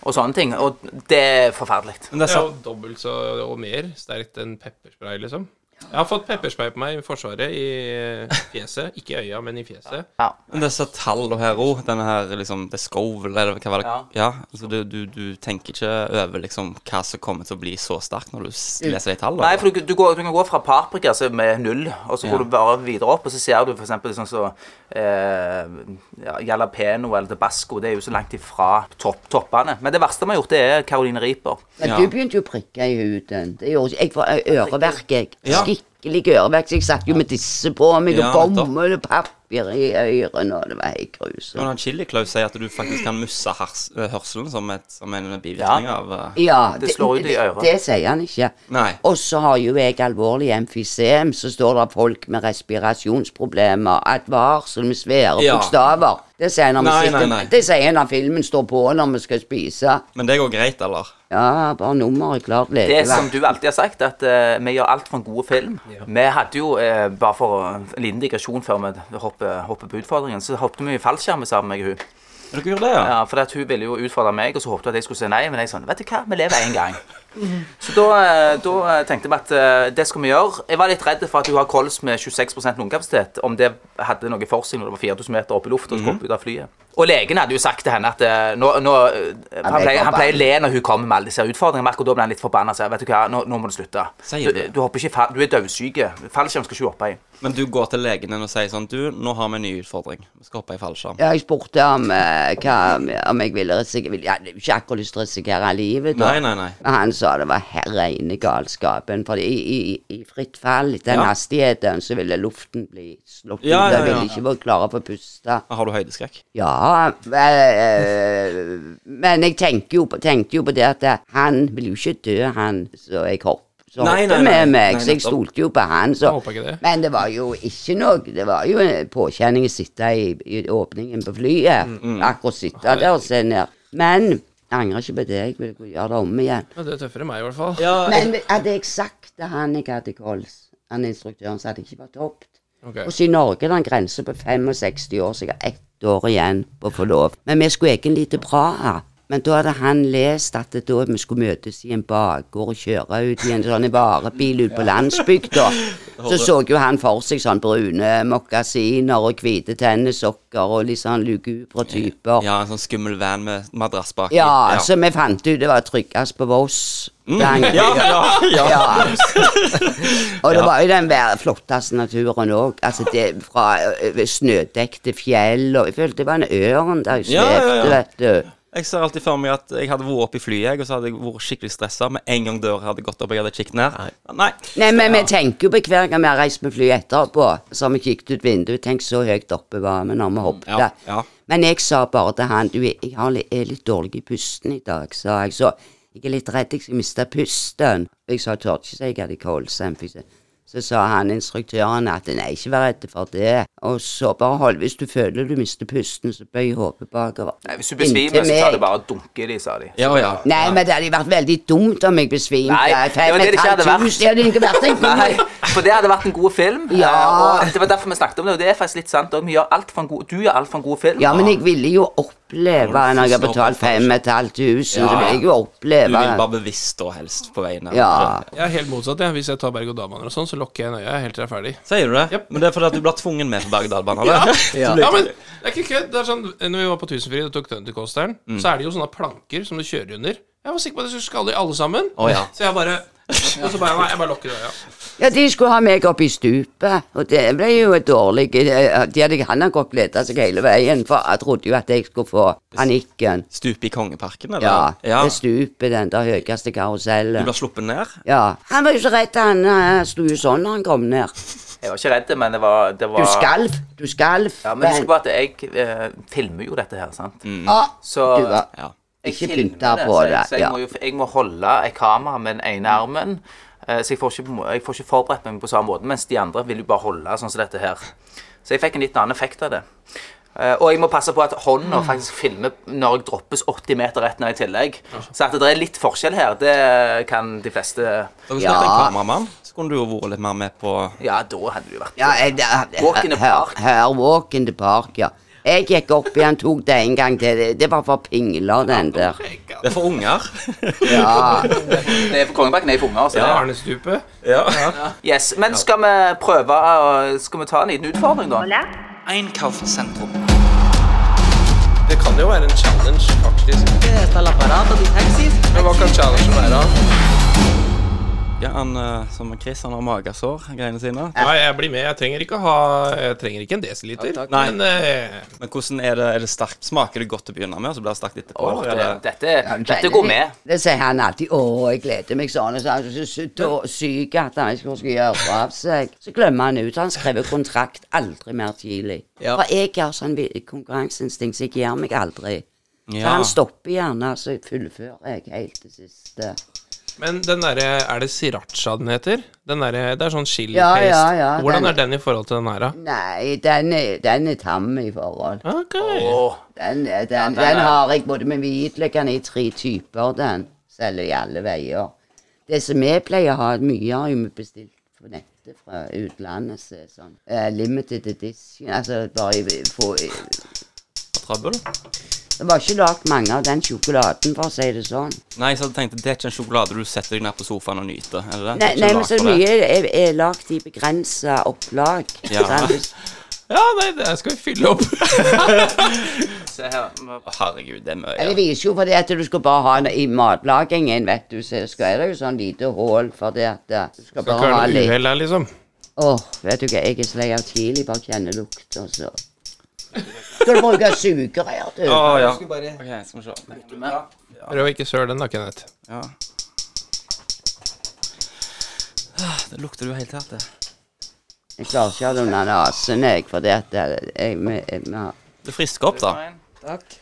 Speaker 3: og sånne ting. Og det er forferdelig.
Speaker 4: Men
Speaker 2: Det
Speaker 4: det er
Speaker 2: er
Speaker 4: sant.
Speaker 2: jo dobbelt så og mer sterkt enn pepperspray, liksom. Jeg har fått pepperspray på meg i Forsvaret, i fjeset. Ikke i øya, men i fjeset.
Speaker 3: Ja.
Speaker 4: Men disse tallene her òg, denne her liksom The Scovel, eller hva var det?
Speaker 3: Ja.
Speaker 4: Ja, altså du, du, du tenker ikke over liksom hva som kommer til å bli så sterkt når du s- leser de tallene?
Speaker 3: Nei, for du, du, går, du kan gå fra paprika som er null, og så går
Speaker 4: Ja.
Speaker 3: du bare videre opp, og så ser du f.eks. sånn som eh, ja, jalapeño eller tabasco. Det er jo så langt ifra topp, toppene. Men det verste vi har gjort, det er Caroline Reaper.
Speaker 5: Men
Speaker 4: Ja.
Speaker 5: du begynte jo å prikke i huden. Det gjorde ikke jeg. for ø- øreverk. jeg.
Speaker 4: Ja.
Speaker 5: Skikkelig øreverk. Så jeg satt jo med disse på meg, og
Speaker 4: Ja, nettopp.
Speaker 5: bomull og papir i ørene, og det var helt
Speaker 4: Men
Speaker 5: grusomt.
Speaker 4: han Chili Klaus sier at du faktisk kan musse hers eh, hørselen som, et, som en bivirkning
Speaker 3: Ja.
Speaker 4: av eh,
Speaker 5: Ja,
Speaker 3: Det slår ut i øret.
Speaker 5: Det, det sier han ikke.
Speaker 4: Nei.
Speaker 5: Og så har jo jeg alvorlig emfysem, så står det folk med respirasjonsproblemer, et varsel med svære
Speaker 4: Ja.
Speaker 5: bokstaver. Det sier han når vi
Speaker 4: Nei,
Speaker 5: sitter-
Speaker 4: nei, nei.
Speaker 5: Det sier han når filmen står på når vi skal spise.
Speaker 4: Men det går greit, eller?
Speaker 5: Ja, bare nummeret klart
Speaker 3: Det som
Speaker 5: lekevakt.
Speaker 3: du alltid har sagt, at eh, vi gjør alt for en god film. Vi hadde jo, eh, bare for å- en liten digresjon før vi hopper, hopper på utfordringen, så hoppet vi i fallskjerm sammen, jeg og hun.
Speaker 4: Dere gjorde det, ja?
Speaker 3: Ja, for at hun ville jo utfordre meg, og så håpte hun at jeg skulle si nei. Men jeg sånn, vet du hva, vi lever én gang. Så da, eh, da eh, tenkte vi at eh, det skal vi gjøre. Jeg var litt redd for at hun har kols med 26 lungekapasitet. Om det hadde noe for seg når det var 4000 meter opp i lufta og skulle hoppe ut av flyet. Og legen hadde jo sagt til henne at eh, nå, nå eh, Han
Speaker 5: ble
Speaker 3: pleier, han
Speaker 5: forbanna.
Speaker 3: pleier å le når hun kommer med alle disse utfordringene, men akkurat da ble han litt forbanna og sa vet du hva, nå, nå må du slutte.
Speaker 4: Sier du
Speaker 3: Du,
Speaker 4: det?
Speaker 3: du, hopper ikke i fall, du er dødssyk. Fallskjerm skal ikke du hoppe i.
Speaker 4: Men du går til legen din og sier sånn Du, nå har vi en ny utfordring. Vi skal hoppe i fallskjerm.
Speaker 5: Ja, jeg spurte om, eh, hva, om jeg ville risikere Jeg hadde jo ikke akkurat lyst til å risikere livet. da.
Speaker 4: Nei, nei, nei.
Speaker 5: Men han sa det var her rene galskapen, for i, i, i fritt fall, den
Speaker 4: Ja.
Speaker 5: hastigheten, så ville luften bli slått
Speaker 4: Ja,
Speaker 5: ut.
Speaker 4: ja,
Speaker 5: Jeg
Speaker 4: ja.
Speaker 5: ville ikke vært klar for å puste.
Speaker 4: Har du høydeskrekk?
Speaker 5: Ja, eh, men jeg tenker jo på, tenkte jo på det at han vil jo ikke dø, han så jeg hopp. Så
Speaker 4: Nei, nei,
Speaker 5: hoppet
Speaker 4: nei,
Speaker 5: med
Speaker 4: nei,
Speaker 5: meg, så jeg
Speaker 4: nettopp.
Speaker 5: stolte jo på han. Så.
Speaker 2: Jeg håper ikke det.
Speaker 5: Men det var jo ikke noe Det var jo en påkjenning å sitte i, i åpningen på flyet.
Speaker 4: Mm,
Speaker 5: Akkurat sitte der og se ned. Men jeg angrer ikke på det. Jeg ville gjøre det om igjen.
Speaker 2: Men det er tøffere enn meg, i hvert fall.
Speaker 5: Men hadde jeg sagt til han jeg hadde kols, han instruktøren, så hadde jeg ikke vært topp.
Speaker 2: Ok.
Speaker 5: Og så i Norge er det en grense på 65 år, så jeg har ett år igjen på å få lov. Men vi skulle egentlig til Praha. Men da hadde han lest at det da vi skulle møtes i en bakgård og kjøre ut i en sånn varebil ut på landsbygda. Så så jo han for seg sånn brune mokkasiner og hvite tennissokker og litt sånn lugubre typer.
Speaker 4: Ja, en sånn skummel van med madrass bak.
Speaker 5: Ja, altså, så vi fant ut det var tryggest på Voss. Den-
Speaker 4: Mm. ja, ja, ja.
Speaker 5: ja. Og det var jo den vær- flotteste naturen òg. Altså det fra ø, ø, snødekte fjell og Jeg følte det var en ørn der jeg
Speaker 4: Ja, ja,
Speaker 5: svevde,
Speaker 4: ja.
Speaker 5: vet du.
Speaker 4: Jeg ser alltid for meg at jeg hadde vært oppe i flyet, jeg, og så hadde jeg vært skikkelig stressa. Med en gang døra hadde gått opp og jeg hadde kikket ned. Nei.
Speaker 5: Nei, men vi tenker jo på hver gang vi har reist med fly etterpå, så har vi kikket ut vinduet, tenk så høyt oppe var vi når vi hoppet.
Speaker 4: Ja, ja.
Speaker 5: Men jeg sa bare til han, du, jeg har litt, er litt dårlig i pusten i dag, sa jeg, så jeg er litt redd jeg skal miste pusten. Jeg sa, tør ikke si jeg hadde kolsen, så sa han instruktøren at nei, ikke vær redd for det, og så bare hold, hvis du føler du mister pusten, så bøy hodet bakover.
Speaker 3: Nei, Hvis hun besvimer,
Speaker 5: Inntil
Speaker 3: så tar
Speaker 5: meg.
Speaker 3: det bare og dunker de, sa de.
Speaker 4: Ja, ja.
Speaker 5: Nei, men det hadde vært veldig dumt om jeg besvimte.
Speaker 3: Nei, det var det det ikke hadde vært.
Speaker 5: 5500. Det hadde ikke vært en god
Speaker 3: Nei, for det hadde vært en god film.
Speaker 5: Ja.
Speaker 3: eh, Og det var derfor vi snakket om det, og det er faktisk litt sant også. Vi gjør alt for en god Du gjør alt for en god film.
Speaker 5: Ja, men jeg ville jo oppleve
Speaker 4: Ja,
Speaker 5: når jeg har
Speaker 4: forstå
Speaker 5: betalt
Speaker 4: på kanskje.
Speaker 5: 5500, så ville jeg jo
Speaker 4: Du
Speaker 5: oppleve
Speaker 4: vil bare bevisst da helst på veien.
Speaker 5: Ja.
Speaker 2: Jeg er helt motsatt. Jeg. Hvis jeg tar berg-og-dal-baner og sånn, så lukker jeg en øye helt til jeg er ferdig.
Speaker 4: Sier du det? Men det er fordi at du blir tvungen med på berg-og-dal-banen? eller?
Speaker 2: Ja. men det er ikke kødd. Det er sånn, når vi var på Tusenfryd og tok Dundercoasteren,
Speaker 4: Mm.
Speaker 2: så er det jo sånne planker som du kjører under. Jeg var sikker på at jeg skulle skalle i alle sammen,
Speaker 4: Å, ja.
Speaker 2: så jeg bare Og så bare Nei, jeg bare lukker øya.
Speaker 5: Ja, de skulle ha meg opp i stupet, og det ble jo et dårlig eh, De hadde han hadde godt gleda seg hele veien, for jeg trodde jo at jeg skulle få panikken.
Speaker 4: Stupe i Kongeparken, eller?
Speaker 5: Ja,
Speaker 4: ja.
Speaker 5: det stupet, den der høyeste
Speaker 4: Du
Speaker 5: karusellen.
Speaker 4: blir sluppet ned?
Speaker 5: Ja. Han var jo så redd, han eh, sto jo sånn når han kom ned.
Speaker 3: Jeg var ikke redd, men det var, det var
Speaker 5: Du skalv, du skalv.
Speaker 3: Ja, men husk på at jeg eh, filmer jo dette her, sant?
Speaker 5: Ja,
Speaker 3: Så
Speaker 5: du var
Speaker 4: Ja.
Speaker 3: jeg
Speaker 5: ikke
Speaker 3: filmer
Speaker 5: pynta
Speaker 3: det,
Speaker 5: på
Speaker 3: så jeg-
Speaker 5: det,
Speaker 3: Så jeg,
Speaker 5: ja.
Speaker 3: må, jo, jeg må holde et kamera med den ene armen. eh, så jeg får, ikke, på må- jeg får ikke forberedt meg på samme måte, mens de andre vil jo bare holde sånn som dette her. Så jeg fikk en litt annen effekt av det. Eh, og jeg må passe på at hånda faktisk filmer når jeg droppes 80 meter rett ned i tillegg. Så at det er litt forskjell her, det kan de fleste
Speaker 4: Dere skulle
Speaker 5: Ja.
Speaker 4: hatt en kameramann, så kunne du jo vært litt mer med på
Speaker 3: Ja, da hadde det jo vært
Speaker 5: Ja, jeg, det-
Speaker 3: Walk in the
Speaker 5: her-
Speaker 3: park.
Speaker 5: Her, walk in the park, ja. Jeg gikk opp igjen, tok det en gang til. Det, det var for pingler, den der.
Speaker 4: Det er for unger.
Speaker 5: Ja.
Speaker 3: Det er for Kongebakken er for unger. Så det.
Speaker 2: Arnestupet.
Speaker 3: Yes, Men skal vi prøve å Skal vi ta en liten utfordring, da?
Speaker 2: Det kan jo være en challenge, faktisk. Men hva kan challengen være?
Speaker 4: Ja, han eh, som Chris, han har magesår, greiene sine.
Speaker 2: Nei, jeg blir med. Jeg trenger ikke, ha, jeg trenger ikke en desiliter.
Speaker 4: Nei.
Speaker 2: men eh,
Speaker 4: Men hvordan er det, er det sterkt? Smaker det godt til å begynne med, og så blir det sterkt etterpå?
Speaker 3: Åh,
Speaker 4: eller er
Speaker 3: det,
Speaker 4: det,
Speaker 3: dette, dette går med.
Speaker 5: Det sier han alltid. 'Å, jeg gleder meg sånn.' Og så er han så så da- syk at han ikke skulle gjøre av seg. Så glemmer han ut. Han skrev kontrakt aldri mer tidlig.
Speaker 9: Ja.
Speaker 5: For jeg har sånn vi- konkurranseinstinkt, så jeg gir meg aldri. Så
Speaker 4: Ja.
Speaker 5: han stopper gjerne, så fullfører jeg helt til siste.
Speaker 2: men den derre Er det siracha den heter? Den derre- det er sånn chili
Speaker 5: Ja,
Speaker 2: paste.
Speaker 5: ja, ja,
Speaker 2: Hvordan
Speaker 5: den-
Speaker 2: er den i forhold til den her, da?
Speaker 5: Nei, den er, den er tam i forhold.
Speaker 2: Ok.
Speaker 3: Åh,
Speaker 5: Den, er- den, den har jeg både med hvitløkene i tre typer, den. Selger i alle veier. Det som vi pleier å ha mye, har jo vi bestilt på nettet fra utlandet. Så er sånn eh, limited edition. Altså bare i- få i-
Speaker 4: trøbbel?
Speaker 5: Det var ikke lagd mange av den sjokoladen, for å si det sånn.
Speaker 4: Nei, så jeg tenkte det er ikke en sjokolade du setter deg ned på sofaen og nyter. Er det det?
Speaker 5: Nei,
Speaker 4: Ikke
Speaker 5: nei men
Speaker 4: lag
Speaker 5: så
Speaker 4: for det.
Speaker 5: mye er, er lagd i begrensa opplag.
Speaker 4: Ja.
Speaker 5: sant? Hvis-
Speaker 2: Ja, nei, det skal vi fylle opp.
Speaker 3: se her.
Speaker 4: Å, Herregud, det er mye.
Speaker 5: Eller Det viser jo fordi at du skal bare ha en- i matlagingen, vet du, så skal er det jo sånn lite hull fordi at eh, du skal
Speaker 2: Det
Speaker 5: bare
Speaker 2: kan
Speaker 5: ha
Speaker 2: være noe
Speaker 5: litt
Speaker 2: uhell her, liksom.
Speaker 5: Åh, vet du hva, jeg er så lei av tidlig, bare kjenner lukt, og så Skal du bruke sugerør, du?
Speaker 4: Å, ja.
Speaker 9: Skulle bare-
Speaker 4: Ok, skal vi se.
Speaker 2: Prøv å ikke søle den, da, Kenneth.
Speaker 4: Ja. Ah, Det lukter du helt her til.
Speaker 5: Jeg klarer ikke å ha det under nesen, jeg, for det at jeg, jeg, jeg, jeg, jeg
Speaker 4: Det frisker opp, da.
Speaker 9: Takk.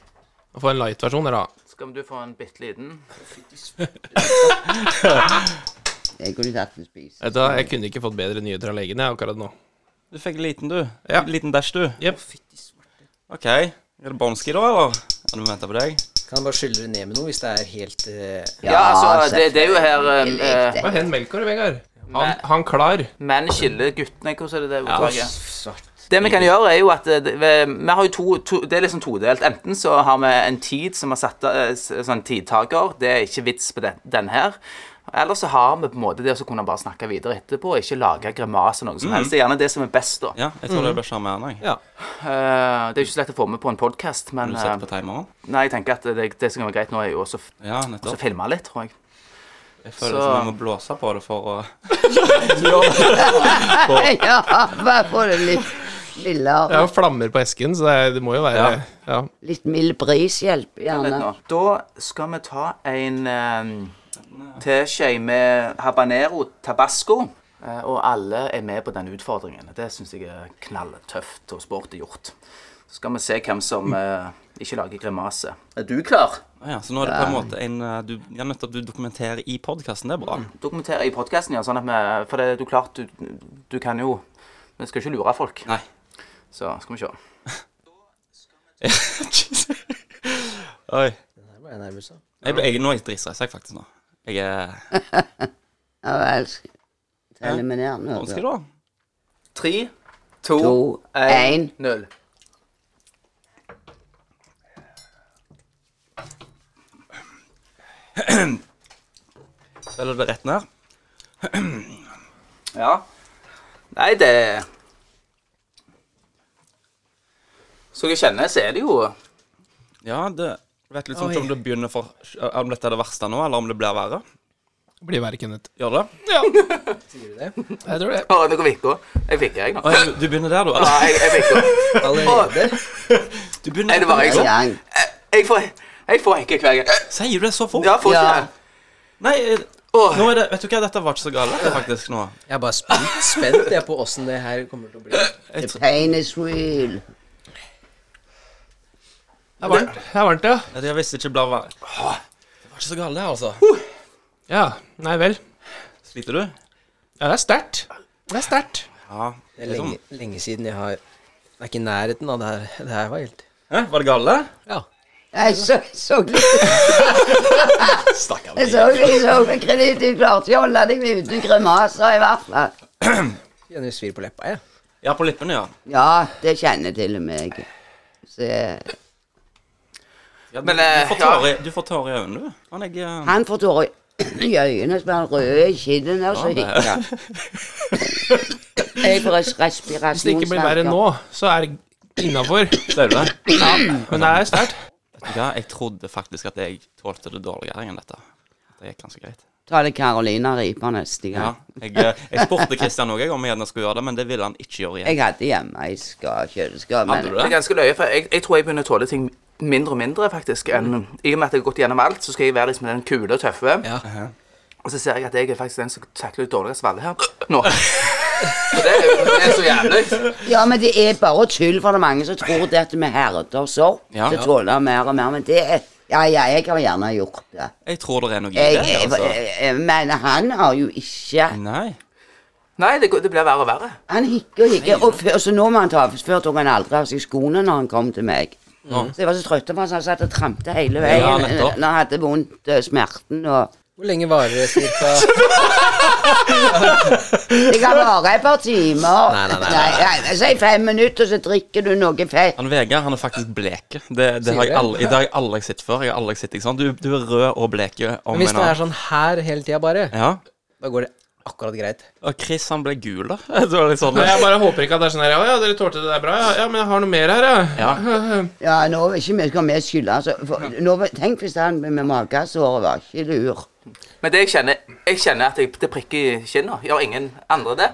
Speaker 2: Få en light-versjon, her, da.
Speaker 3: Skal du få en bitte liten?
Speaker 5: Jeg kunne tatt en spise.
Speaker 2: Vet du, hva, jeg kunne ikke fått bedre nyheter av legen jeg, akkurat nå.
Speaker 4: Du fikk en liten, du.
Speaker 2: Ja.
Speaker 4: En liten bæsj, du.
Speaker 2: Jep.
Speaker 4: OK. Er det Bonski, da, eller? Er det vi venter på deg?
Speaker 9: Kan bare skylle det ned med noe hvis det er helt eh,
Speaker 3: Ja, altså, det, det er jo her eh,
Speaker 5: selvfølgelig.
Speaker 2: Hva hen melka, Vegard? Han, han klar.
Speaker 3: Menn skiller guttene, hvordan er det det uttrykket?
Speaker 9: svart.
Speaker 3: Det vi kan gjøre, er jo at eh, vi vi har jo to, to Det er liksom todelt. Enten så har vi en tid som er satt eh, s- sånn tidtaker. Det er ikke vits på den, den her. Eller så har vi på en måte det å så kunne bare snakke videre etterpå og ikke lage grimaser noe som helst. Det er gjerne det som er best, da.
Speaker 4: Mm. Ja, jeg tror det blir sjarmerende. jeg.
Speaker 2: Ja.
Speaker 3: Eh, det er jo ikke så lett å få med på en podkast, men
Speaker 4: Har du
Speaker 3: eh,
Speaker 4: sett på timeren?
Speaker 3: nei, jeg tenker at det, det som kan være greit nå, er jo også å
Speaker 4: Ja, nettopp.
Speaker 3: filme litt, tror jeg.
Speaker 4: Jeg føler
Speaker 3: så-
Speaker 4: som jeg må blåse på det for å
Speaker 5: Ja, bare få det litt
Speaker 2: Det er
Speaker 5: mildere.
Speaker 2: jo flammer på esken, så det, er- det må jo være
Speaker 4: Ja.
Speaker 2: ja.
Speaker 5: Litt mild bris hjelper
Speaker 3: Vent
Speaker 5: gjerne.
Speaker 3: nå. Da skal vi ta en um, teskje med habanero tabasco. Eh, Og alle er med på den utfordringen. Det syns jeg er knalltøft og sporty gjort. Så skal vi se hvem som eh, ikke lager grimase. Er du klar?
Speaker 4: Ja, så nå er det på en måte en eh, du, ja, nettopp, du dokumenterer i podkasten. Det er bra.
Speaker 3: Dokumenter i podkasten, ja. Sånn at vi, for det er jo klart, du, du kan jo Vi skal ikke lure folk.
Speaker 4: Nei.
Speaker 3: Så skal vi se.
Speaker 4: Oi.
Speaker 9: Der ble jeg nervøs, da.
Speaker 4: Jeg ble, jeg, nå er jeg dritstressa, jeg, faktisk. nå. Jeg er
Speaker 5: Ja vel. Teller vi ned nå?
Speaker 4: Bonski,
Speaker 5: da.
Speaker 4: da.
Speaker 3: Tre, to,
Speaker 5: To,
Speaker 3: én,
Speaker 5: en.
Speaker 3: null.
Speaker 4: Spiller du det rett ned?
Speaker 3: Ja. Nei, det Som jeg kjenner, så er det jo
Speaker 4: Ja, det jeg vet liksom ikke om det begynner for Om dette er det verste nå, eller om det blir verre.
Speaker 2: Blir verre, Kenneth.
Speaker 4: Gjør det?
Speaker 2: Jeg tror det.
Speaker 3: Å, nå går vikka. Jeg fikk jeg nå.
Speaker 4: Å, ja, du, du begynner der, du?
Speaker 3: Ja,
Speaker 4: Eller?
Speaker 3: jeg, jeg fikk
Speaker 9: Allerede?
Speaker 4: Du
Speaker 3: Er
Speaker 4: begynner
Speaker 3: det bare jeg
Speaker 5: En
Speaker 3: som
Speaker 5: gang.
Speaker 3: Jeg får, jeg får hekke hver gang.
Speaker 4: Sier du det så fort?
Speaker 3: Ja, får ikke
Speaker 5: Ja.
Speaker 3: det.
Speaker 4: Nei, eh,
Speaker 3: Åh.
Speaker 4: nå er det Vet du hva, dette var ikke så galt, dette, faktisk, nå.
Speaker 9: Jeg er bare spent, spent jeg på åssen det her kommer til å bli.
Speaker 5: The pain is real.
Speaker 2: Det er varmt, det er varmt ja.
Speaker 4: Ja, Det visste ikke blir verre. Åh, Det var ikke så galt, det, altså.
Speaker 2: ja. Nei vel.
Speaker 4: Sliter du?
Speaker 2: Ja, det er sterkt. Det er sterkt.
Speaker 4: Ja.
Speaker 9: Det er
Speaker 2: Liksom-
Speaker 9: lenge, lenge siden jeg har Det er ikke i nærheten av det her. Det her var helt
Speaker 4: Hæ, var det gale?
Speaker 9: Ja.
Speaker 5: Jeg så, så litt
Speaker 4: Stakkar.
Speaker 5: Jeg så, jeg så på kreditt, du klarte ikke å holde deg uten grimaser, i hvert fall.
Speaker 9: Kjenner svir på leppa, jeg.
Speaker 4: Ja, på lippene, ja.
Speaker 5: Ja, det kjenner til og med jeg. Så eh,
Speaker 4: Ja, du,
Speaker 3: Men, eh,
Speaker 4: du får tårer i- du får tårer i øynene, du. eh, Han er ikke
Speaker 5: Han får tårer i øynene, så blir han rød i kinnene. og så
Speaker 4: det-
Speaker 5: hikker. Jeg får res-
Speaker 2: Hvis det ikke blir verre
Speaker 5: respirasjonsvansker.
Speaker 2: nå, så er det innafor.
Speaker 4: Støvle.
Speaker 2: Men det er sterkt.
Speaker 4: Ja, jeg trodde faktisk at jeg tålte det dårligere enn dette. Det gikk ganske greit.
Speaker 5: Ta det Carolina Ripa neste
Speaker 4: Ja,
Speaker 5: gang.
Speaker 4: jeg, eh, jeg spurte Kristian òg om jeg gjerne skulle gjøre det, men det ville han ikke gjøre igjen.
Speaker 5: Jeg hadde hjemme i ska- kjøleskap,
Speaker 4: Hadde
Speaker 5: men
Speaker 4: du
Speaker 3: Det er
Speaker 4: det?
Speaker 3: ganske løye, for jeg, jeg tror jeg begynner å tåle ting mindre og mindre, faktisk. Enn, I og med at jeg har gått gjennom alt, så skal jeg være liksom den kule og tøffe.
Speaker 9: Mm. Ja.
Speaker 3: Og så ser jeg at jeg er faktisk den som takler litt dårligere svalle her nå. Så det er jo det er så jævlig.
Speaker 5: Ja, men det er bare tull, for det er mange som tror det at vi herder sopp.
Speaker 4: Ja.
Speaker 5: så tåler vi mer og mer, men det er Ja, ja, jeg har gjerne gjort det.
Speaker 4: Jeg tror det er noe i
Speaker 5: Jeg,
Speaker 4: det.
Speaker 5: jeg,
Speaker 4: Altså.
Speaker 5: jeg, jeg, men han har jo ikke
Speaker 4: Nei.
Speaker 3: Nei, det, går- det blir verre og verre.
Speaker 5: Han hikker og hikker. Og før, så nå må han ta Før tok han aldri av seg skoene når han kom til meg. Så jeg var så trøtt av ham, så han satt og trampte hele veien.
Speaker 4: Ja, nettopp.
Speaker 5: når han hadde vondt eh, smerten og
Speaker 9: Hvor lenge varer det cirka?
Speaker 5: Det kan vare et par timer.
Speaker 9: Nei, nei, nei,
Speaker 5: nei. Si fem minutter, så drikker du noe fett.
Speaker 4: Han Vegard han er faktisk bleke. Det, det har jeg
Speaker 9: det?
Speaker 4: aldri, det har jeg aldri sett før. Jeg har aldri sett deg sånn. Du, du er rød og bleke om
Speaker 9: Men hvis
Speaker 4: en
Speaker 9: det er
Speaker 4: annen.
Speaker 9: sånn her hele tida bare,
Speaker 4: Ja.
Speaker 9: da går det akkurat greit.
Speaker 4: Og Chris han ble gul, da. Det var litt sånn
Speaker 2: Nei, jeg bare håper ikke at det er sånn her Ja, ja, dere tålte det der bra. Ja, ja men jeg har noe mer her, ja.
Speaker 4: Ja.
Speaker 5: Ja, nå vil ikke vi skal vi skylde altså, for, nå, Tenk hvis han med magesåret var ikke lur.
Speaker 3: Men det jeg kjenner, jeg kjenner at jeg, det prikker i kinna. Gjør ingen andre det?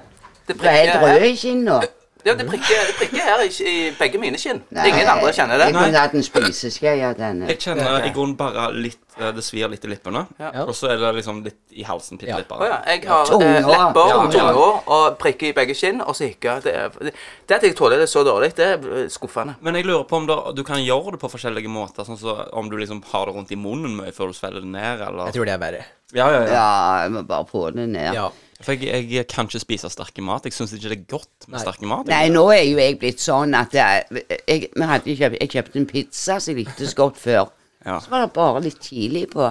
Speaker 3: Det
Speaker 5: Du er helt
Speaker 3: her.
Speaker 5: rød i kinna.
Speaker 3: Ja, det prikker, det prikker her i, i begge mine kinn.
Speaker 5: Nei,
Speaker 3: Ingen andre kjenner det.
Speaker 5: Jeg kunne hatt en spiseske av denne.
Speaker 4: Jeg kjenner i grunnen bare litt eh, Det svir litt i lippene.
Speaker 3: Ja.
Speaker 4: Og så er det liksom litt i halsen. Bitte
Speaker 9: Ja.
Speaker 4: litt
Speaker 3: Å ja,
Speaker 4: bare.
Speaker 3: jeg har
Speaker 5: Tunga.
Speaker 3: eh, lepper
Speaker 5: Ja,
Speaker 3: og
Speaker 5: ja.
Speaker 3: tunga og prikker i begge kinn, og så hikker jeg. Det, er- det, det at jeg tåler det så dårlig, det er eh, skuffende.
Speaker 4: Men jeg lurer på om da, du kan gjøre det på forskjellige måter. Sånn så om du liksom har det rundt i munnen mye før du svelger det ned, eller
Speaker 9: Jeg tror det er verre.
Speaker 4: Ja, ja, ja.
Speaker 5: Ja, jeg må bare få det ned.
Speaker 9: Ja.
Speaker 4: For jeg, jeg kan ikke spise sterke mat. Jeg syns ikke det er godt med
Speaker 9: Nei.
Speaker 4: sterke mat.
Speaker 5: Nei, nå er jo jeg blitt sånn at jeg, jeg, vi hadde jo kjøpt, jeg kjøpte en pizza som jeg likte så godt før.
Speaker 4: Ja.
Speaker 5: Så var det bare litt tidlig på.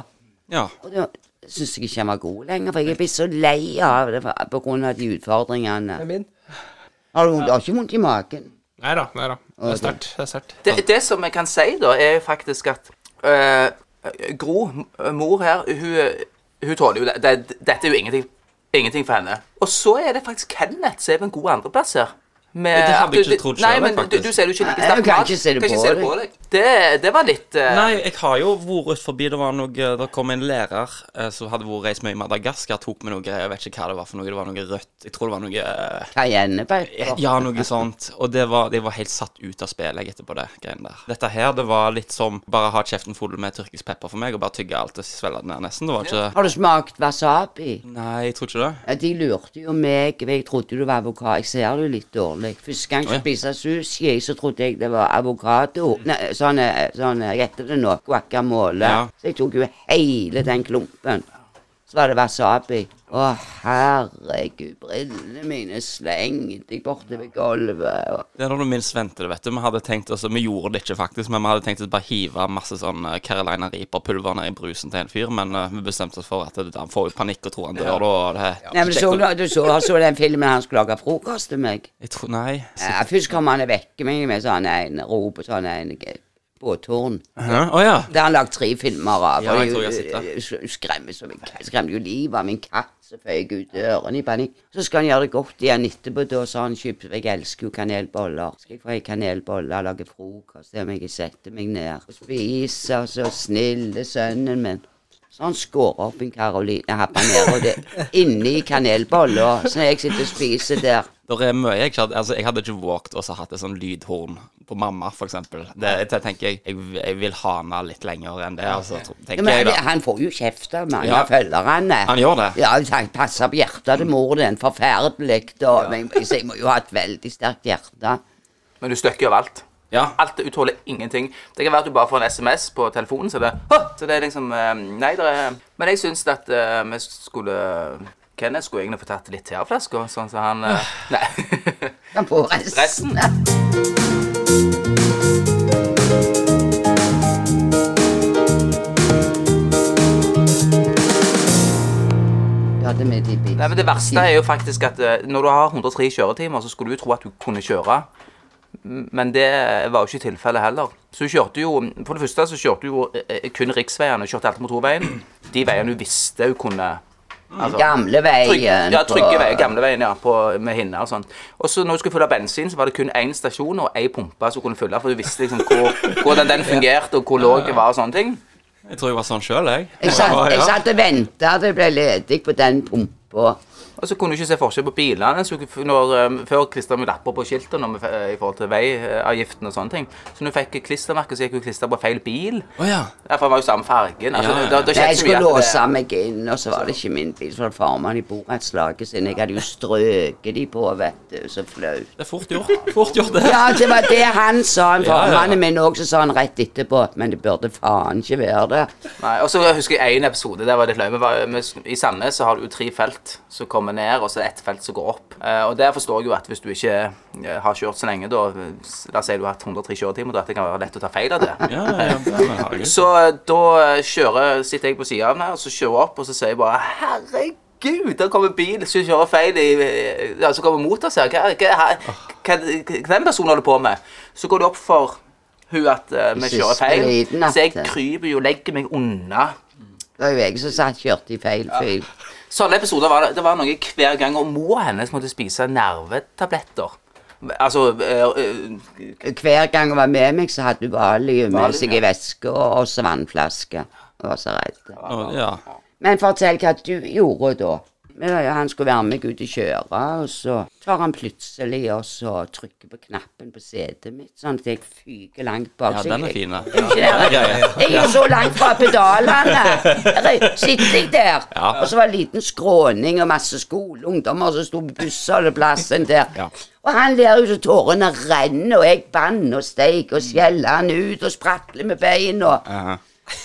Speaker 4: Ja.
Speaker 5: Og da syns jeg ikke han var god lenger, for jeg er blitt så lei av det for- på grunn av de utfordringene.
Speaker 9: Det er min.
Speaker 5: Har du, vondt- har ikke vondt i magen?
Speaker 2: Nei da, nei da. Det er sterkt. Det er sterkt.
Speaker 3: Det, det som jeg kan si, da, er faktisk at eh, Gro, m- mor her, hun, hun tåler jo det. det. Dette er jo ingenting, ingenting for henne. Og så er det faktisk Kenneth som er på en god andreplass her. Med,
Speaker 4: Det hadde jeg
Speaker 3: at du-
Speaker 4: ikke
Speaker 3: du-
Speaker 4: trodd
Speaker 3: Nei,
Speaker 4: selv,
Speaker 3: men du,
Speaker 4: faktisk.
Speaker 3: du sier du ikke liker
Speaker 5: Nei,
Speaker 3: sterk
Speaker 5: du kan ikke se det på deg.
Speaker 3: Det, det var litt eh,
Speaker 4: Nei, jeg har jo vært ut forbi. Det var noe, det kom en lærer eh, som hadde vært reist mye i Madagaskar, tok med noe greier. Jeg vet ikke hva det var for noe. Det var noe rødt. Jeg tror det var noe eh,
Speaker 5: Cayennepepper?
Speaker 4: Ja, noe sånt. Og det var, det var helt satt ut av spillet jeg, etterpå, det greiene der. Dette her, det var litt som bare ha kjeften full med tyrkisk pepper for meg, og bare tygge alt og svelge det ned nesten. Det var ikke
Speaker 5: Har du smakt wasabi?
Speaker 4: Nei, jeg tror ikke det.
Speaker 5: Ja, De lurte jo meg, for jeg trodde du var avokado. Jeg ser det jo litt dårlig. Første gang
Speaker 4: Å, ja.
Speaker 5: jeg spiste sushi, så trodde jeg det var avokado. Nei, sånn, eh, sånn eh, heter det nå, guacamole.
Speaker 4: Ja.
Speaker 5: Så jeg tok jo hele den klumpen. Så var det wasabi. Å, herregud, brillene mine slengte jeg bortover gulvet. og-
Speaker 4: Det er når du minst venter det, vet du. Vi hadde tenkt altså, Vi gjorde det ikke, faktisk, men vi hadde tenkt å bare hive masse sånn eh, Carolina Reaper-pulver ned i brusen til en fyr, men eh, vi bestemte oss for at det, han får jo panikk og tror han dør, da. og det-
Speaker 5: Nei, men du så, du så, så den filmen han skulle lage frokost til meg?
Speaker 4: Jeg tror Nei.
Speaker 5: Ja, først kom han og vekket meg med sånn en rop og sånn en eh, båttårn.
Speaker 4: Hæ? Å ja.
Speaker 5: Det har han lagd tre filmer av.
Speaker 4: Ja, jeg
Speaker 5: og
Speaker 4: tror jeg har sett
Speaker 5: jeg skremmer som en katt. Skremmer jo livet av min katt som føyk ut ørene i panikk. Så skal han gjøre det godt igjen etterpå. Da sa han kjøpt Jeg elsker jo kanelboller. Skal jeg få ei kanelbolle og lage frokost til meg? Jeg setter meg ned og spiser, så snille sønnen min. Så han skårer opp en Caroline Habanero det- inni kanelbolla, så jeg sitter og spiser der.
Speaker 4: Det er mye jeg ikke hadde Altså, jeg hadde ikke våget også hatt et sånn lydhorn på mamma, for eksempel. Det, det tenker jeg, jeg Jeg vil hane litt lenger enn det, altså, tro-
Speaker 5: Ja,
Speaker 4: tenker
Speaker 5: men
Speaker 4: jeg, da.
Speaker 5: han får jo kjeft av mange
Speaker 4: Ja.
Speaker 5: av følgerne.
Speaker 4: Han gjør det.
Speaker 5: Ja, altså, han passer på hjertet til mor din forferdelig, da. Men jeg, så jeg må jo ha et veldig sterkt hjerte.
Speaker 3: Men du støkker jo av alt.
Speaker 4: Ja.
Speaker 3: Alt du tåler ingenting. Det kan være at du bare får en SMS på telefonen, så det Hå! Så det er liksom eh, Nei, det er Men jeg syns at eh, vi skulle Kenneth skulle egentlig få tatt litt til av flaska, sånn som han eh, Nei.
Speaker 5: Han får resten.
Speaker 3: Resten.
Speaker 5: Ja, det med de
Speaker 3: Nei, men Det verste er jo faktisk at eh, når du har 103 kjøretimer, så skulle du jo tro at du kunne kjøre. Men det var jo ikke tilfellet heller. Så hun kjørte jo For det første så kjørte hun jo eh, kun riksveiene, hun kjørte alltid motorveien. De veiene hun visste hun kunne altså,
Speaker 5: Gamleveien
Speaker 3: Trygg, ja, trygge
Speaker 5: eh, på-
Speaker 3: veier. Gamleveien, ja. På, med hinner og sånt. Og så når hun skulle fylle bensin, så var det kun én stasjon og én pumpe som hun kunne fylle, for hun visste liksom hvor, hvordan den fungerte, og hvor lav det var og sånne ting.
Speaker 4: Jeg tror jeg var sånn sjøl, jeg.
Speaker 5: Jeg satt,
Speaker 4: Ja,
Speaker 5: jeg
Speaker 4: ja.
Speaker 5: satt og venta det ble ledig på den pumpa.
Speaker 3: Og så kunne hun ikke se forskjell på bilene. Så hun- når, um, før klistra vi lapper på skiltet når vi, eh, i forhold til veiavgiften og sånne ting. Så når hun fikk klistremerke, så gikk hun klistra på feil bil.
Speaker 4: Å ja.
Speaker 3: Ja, for han var jo samme fargen. Altså,
Speaker 4: Ja, ja.
Speaker 3: Da, da skjedde
Speaker 5: Jeg
Speaker 3: så mye
Speaker 5: skulle
Speaker 3: at det-
Speaker 5: låse meg inn, og så var det ikke min bil. Så var det farmannen i borettslaget sin. Jeg hadde jo strøket de på, vet du. Så flaut.
Speaker 4: Det er fort gjort. Fort gjort, det.
Speaker 5: Ja, det var det han sa. Han
Speaker 4: Ja, ja.
Speaker 5: Formannen min òg, så sa han rett etterpå. Men det burde faen ikke være det.
Speaker 3: Nei, og så husker jeg en episode, der var det litt løye. Vi var- vi- I Sandnes så har du jo tre felt som kommer ned, og så ett felt som går opp. Eh, og der forstår jeg jo at hvis du ikke eh, har kjørt så lenge, da, s- la oss si du har hatt 103 kjøretimer, da at det kan være lett å ta feil av det.
Speaker 4: Ja, ja, ja. det er herregud.
Speaker 3: Så eh, da eh, kjører, sitter jeg på siden av den her, og så kjører jeg opp, og så sier jeg bare, herregud, der kommer bil, så kjører feil i, ja, så kommer mot oss her, hva, hva, hva, hva, hva den personen holder på med? Så går det opp for hun at eh, vi
Speaker 5: Siste
Speaker 3: kjører feil,
Speaker 5: liten at-
Speaker 3: så jeg kryper jo og legger meg unna.
Speaker 5: Det var jo jeg som satt kjørte i feil fil.
Speaker 3: Sånne episoder var det, det var noe hver gang, og mor hennes måtte spise nervetabletter. Altså, eh, eh,
Speaker 5: Hver gang hun var med meg, så hadde hun valium med
Speaker 3: Valium,
Speaker 5: seg
Speaker 3: ja.
Speaker 5: i veske og også vannflaske. Jeg var så redd.
Speaker 4: Å, ja.
Speaker 5: Men fortell hva du gjorde da. Ja, Han skulle være med meg ut og kjøre, og så tar han plutselig og så trykker på knappen på setet mitt, sånn at jeg fyker langt bak.
Speaker 4: ja,
Speaker 5: Så jeg-
Speaker 4: den er fin.
Speaker 5: Jeg er jo ikke der.
Speaker 4: Ja, ja.
Speaker 5: Jeg er jo så langt fra pedalene. Her sitter jeg der.
Speaker 4: Ja.
Speaker 5: Og så var det en liten skråning og masse skoleungdommer som sto på bussholdeplassen der.
Speaker 4: Ja.
Speaker 5: Og han der ute, tårene renner, og jeg banner og steik og skjeller han ut og spratler med beina.
Speaker 4: Ja.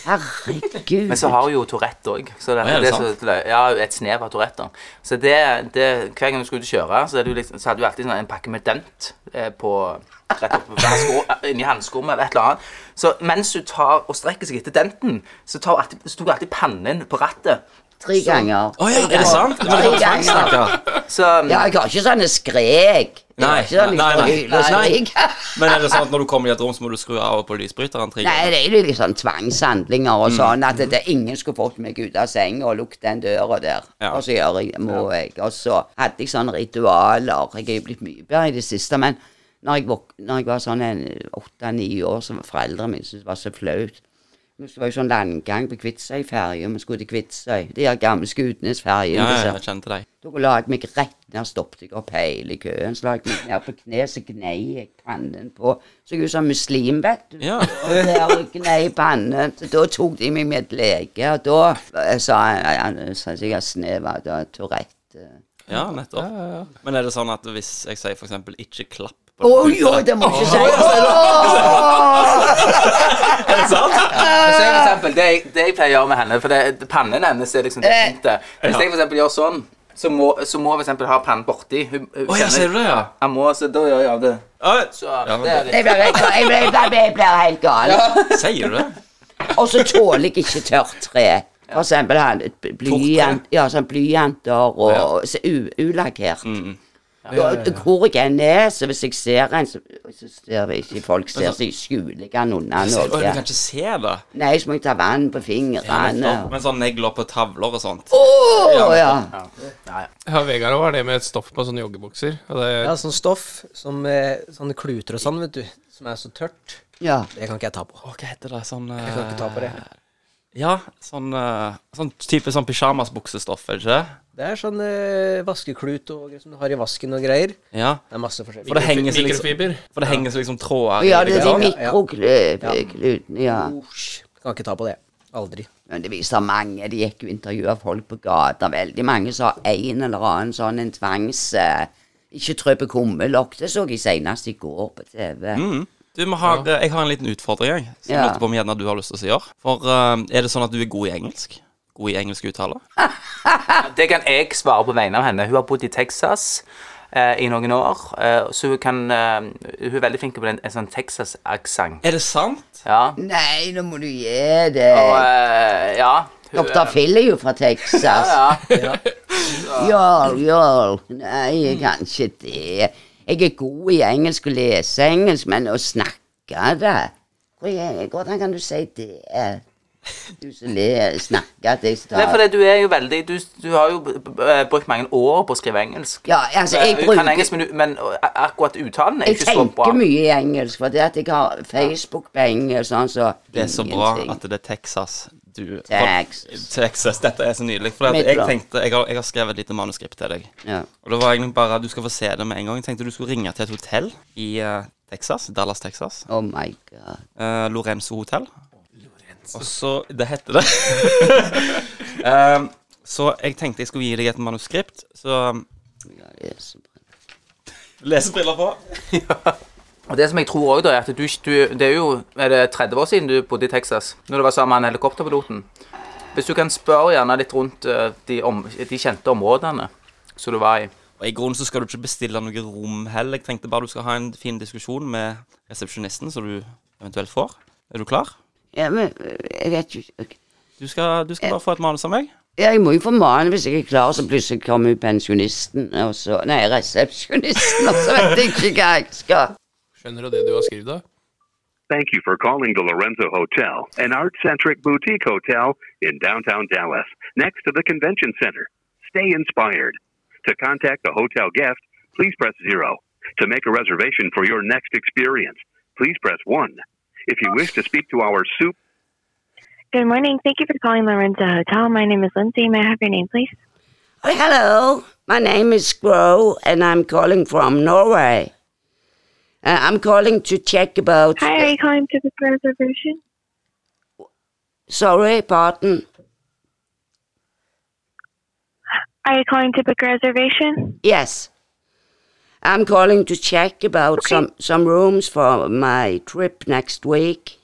Speaker 5: Herregud.
Speaker 3: Men så har hun jo Tourette òg.
Speaker 4: Ja, er det sant?
Speaker 3: Ja, et snev av Tourette. da. Så det, det, hver gang du skulle ut og kjøre, så, er det jo liksom, så hadde du alltid sånn en pakke med dent eh, på Rett oppe på hansko, inni hanskerommet eller et eller annet. Så mens hun tar og strekker seg etter denten, så tar hun alltid, sto hun alltid pannen på rattet.
Speaker 5: Tre ganger.
Speaker 4: Å, ja, er det sant? Men
Speaker 5: Tre
Speaker 4: det var
Speaker 5: ganger.
Speaker 4: tvangstanker.
Speaker 3: Så
Speaker 5: Ja, jeg har ikke sånne skrek. Jeg har
Speaker 4: Nei,
Speaker 5: ikke sånn
Speaker 4: nei,
Speaker 5: sånne
Speaker 4: nei,
Speaker 5: hylerskrek.
Speaker 4: Men er det sånn at når du kommer i et rom, så må du skru av og på lysbryteren tre
Speaker 5: Nei,
Speaker 4: ganger?
Speaker 5: det er jo litt sånn tvangshandlinger
Speaker 4: Mm.
Speaker 5: og sånn, at det, ingen skulle fått meg ut av senga og lukket den døra der.
Speaker 4: Ja.
Speaker 5: Og så gjør jeg, må jeg. Og så hadde jeg sånne ritualer. Jeg er jo blitt mye bedre i det siste, men når jeg, våk- når jeg var sånn en åtte-ni år, så var foreldrene mine syntes det var så flaut. Men Det var jo sånn landgang på Kvitsøyferja, vi skulle til Kvitsøy. De der gamle Skudenesferjene.
Speaker 4: Ja, ja,
Speaker 5: disse.
Speaker 4: jeg kjente deg.
Speaker 5: Da la jeg meg rett ned, stoppet jeg opp hele køen. Så la jeg meg ned på kne, så gnei jeg pannen på. Så jeg er jo sånn muslim, vet du.
Speaker 4: Ja.
Speaker 5: Og der og gnei pannen. Så da tok de meg med til lege, og da eh, sa han ja, han sa jeg har snev av da, Tourette. eh.
Speaker 4: Ja, nettopp. Men er det sånn at hvis jeg sier for eksempel 'ikke klapp' på
Speaker 5: Å jo, det må jeg ikke si!
Speaker 3: Hvis jeg for eksempel, det, jeg- det jeg pleier å gjøre med henne, for det, pannen hennes er liksom det punktet. Hvis jeg for eksempel gjør sånn, så må, så må jeg for eksempel ha pannen borti. Hun, hun
Speaker 4: Å ja,
Speaker 3: kjenner-
Speaker 4: ser du det, ja?
Speaker 3: Jeg må, så da gjør jeg det.
Speaker 4: Å,
Speaker 3: Så,
Speaker 4: men
Speaker 3: det er det.
Speaker 5: Jeg blir helt gal. Jeg blir- jeg blir- jeg blir helt gal.
Speaker 4: Sier du det?
Speaker 5: Og så tåler jeg ikke tørt tre. For eksempel han, b- blyant, ja, sånn blyanter og og så u- ulakkert. Og- og Hvor jeg enn er, så hvis jeg ser en, så, så ser vi ikke folk ser, så jeg skjuler jeg han unna
Speaker 4: Å, du kan
Speaker 5: noe.
Speaker 4: ikke se det?
Speaker 5: Nei, så må jeg ta vann på fingrene.
Speaker 4: Men sånn negler på tavler og sånt.
Speaker 5: Å, ja.
Speaker 2: Ja, Vegard var det med et stoff på sånne joggebukser. Og det,
Speaker 9: Ja, sånn stoff, som, eh, sånne kluter og sånn, vet du, som er så tørt,
Speaker 5: ja.
Speaker 9: det kan ikke jeg ta på.
Speaker 4: Å, hva heter det? Sånn
Speaker 9: Jeg kan ikke ta på det.
Speaker 4: Ja, sånn, eh, sånn type sånn pysjamasbuksestoff, er det ikke det?
Speaker 9: Det er sånn eh, vaskeklut og, som du har i vasken og greier.
Speaker 4: Ja.
Speaker 9: Det er masse forskjellig.
Speaker 4: For det henger så liksom,
Speaker 2: mikrofiber.
Speaker 4: for det henger så liksom tråder
Speaker 5: Ja, det
Speaker 9: Ja,
Speaker 4: liksom.
Speaker 5: er de
Speaker 9: ja, ja.
Speaker 5: mikroklutene, ja.
Speaker 9: Osj, Kan ikke ta på det. Aldri.
Speaker 5: Men det viser mange, de gikk jo og intervjuet folk på gata, veldig mange sa en eller annen sånn en tvangs... eh, Ikke trø på kummelokk, det så jeg senest i går på TV.
Speaker 4: Mm. Du, vi har, Jeg har en liten utfordring, jeg. Som jeg
Speaker 5: Ja.
Speaker 4: lurte på om gjerne du har lyst til å si gjør. For eh, er det sånn at du er god i engelsk? God i engelsk uttale?
Speaker 3: Det kan jeg svare på vegne av henne. Hun har bodd i Texas eh, i noen år, eh, så hun, kan, eh, hun er veldig flink på den, en sånn Texas-aksent.
Speaker 4: Er det sant?
Speaker 3: Ja.
Speaker 5: Nei, nå må du gi det.
Speaker 3: Og, eh, ja. Hun,
Speaker 5: Dr. Phil er jo fra Texas.
Speaker 3: ja.
Speaker 5: Jarl, jarl. Nei, kanskje det. Jeg er god i engelsk og leser engelsk, men å snakke det Hvor er- Hvordan kan du si det? Du som le- snakker at jeg
Speaker 3: Nei, for
Speaker 5: snakker
Speaker 3: det, du er jo veldig Du, du har jo eh, brukt mange år på å skrive engelsk.
Speaker 5: Ja, altså, jeg
Speaker 3: Eh,
Speaker 5: bruker-
Speaker 3: kan engelsk, men, du- men eh, akkurat uttalen er
Speaker 5: Jeg
Speaker 3: ikke så bra.
Speaker 5: tenker mye i engelsk, for det at jeg har Facebook på engelsk sånn, så
Speaker 4: Det er så bra
Speaker 5: ingenting.
Speaker 4: at det er Texas. Du,
Speaker 5: Texas.
Speaker 4: Texas. Dette er så nydelig. For at jeg
Speaker 5: Midtland.
Speaker 4: tenkte jeg har, jeg har skrevet et lite manuskript til deg.
Speaker 5: Ja.
Speaker 4: Og det var egentlig bare Du skal få se det med en gang. Jeg tenkte du skulle ringe til et hotell i eh, Texas. Dallas, Texas.
Speaker 5: Oh my god.
Speaker 4: Eh, Lorenzo Hotel. Og så Det heter det. Eh, så jeg tenkte jeg skulle gi deg et manuskript. Så um,
Speaker 5: Ja, det er så bra.
Speaker 4: lesebriller på.
Speaker 3: Og det som jeg tror også da, er at du, du Det er jo er det 30 år siden du bodde i Texas, når du var sammen med han helikopterpiloten. Hvis du kan spørre gjerne litt rundt eh, de, om, de kjente områdene som du var i.
Speaker 4: Og I grunnen så skal du ikke bestille noe rom heller. Jeg tenkte bare du skal ha en fin diskusjon med resepsjonisten, som du eventuelt får. Er du klar?
Speaker 5: Ja, men jeg vet jo ikke
Speaker 4: Du skal, du skal bare få et manus av meg.
Speaker 5: Ja, jeg må jo få malen hvis jeg ikke klarer, så plutselig kommer jo pensjonisten, og så Nei, resepsjonisten, og så vet jeg ikke hva jeg skal.
Speaker 2: Skjønner du det du har skrevet, da?
Speaker 12: Thank you for calling the Lorenzo Hotel, an art centric boutique hotel in downtown Dallas, next to the convention center. Stay inspired. To contact a hotel guest, please press zero. To make a reservation for your next experience, please press one. If you wish to speak to our soup,
Speaker 13: Good morning. Thank you for calling Lorenzo Hotel. My name is Lindsay. May I have your name, please?
Speaker 5: Oh, hello, my name is Gro, and I'm calling from Norway. Uh, I'm calling to check about.
Speaker 13: Hi, are you calling to book a reservation?
Speaker 5: Sorry, pardon.
Speaker 13: Are you calling to book a reservation?
Speaker 5: Yes. I'm calling to check about
Speaker 13: Okay.
Speaker 5: some, some rooms for my trip next week.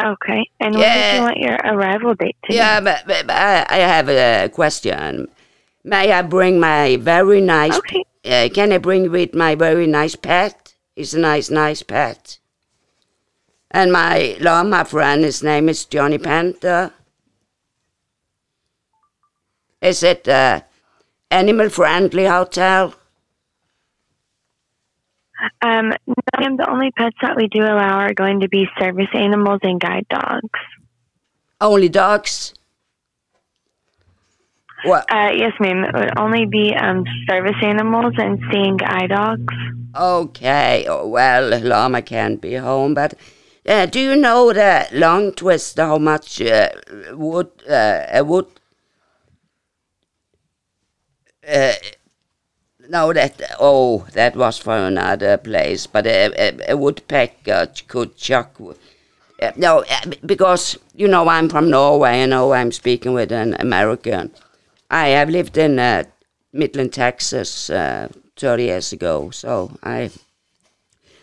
Speaker 13: Okay. And when did
Speaker 5: Yeah.
Speaker 13: you want your arrival date to be?
Speaker 5: Yeah, but, but, but I, I have a question. May I bring my very nice?
Speaker 13: Okay.
Speaker 5: Uh, can I bring with my very nice pet? It's a nice, nice pet. And my llama friend, his name is Johnny Panther. Is it a animal-friendly hotel?
Speaker 13: Um, no, ma'am, the only pets that we do allow are going to be service animals and guide dogs.
Speaker 5: Only dogs. What?
Speaker 13: Uh, yes, ma'am. It would only be um, service animals and seeing eye dogs.
Speaker 5: Okay, oh, well, Llama can't be home, but uh, do you know the long twist? How much uh, wood? Uh, uh, wood? Uh, no, that oh, that was for another place. But a, a, a woodpecker could chuck. wo- Uh, no, uh, b- because you know I'm from Norway. I know I'm speaking with an American. I have lived in uh, Midland, Texas, uh, 30 years ago. So I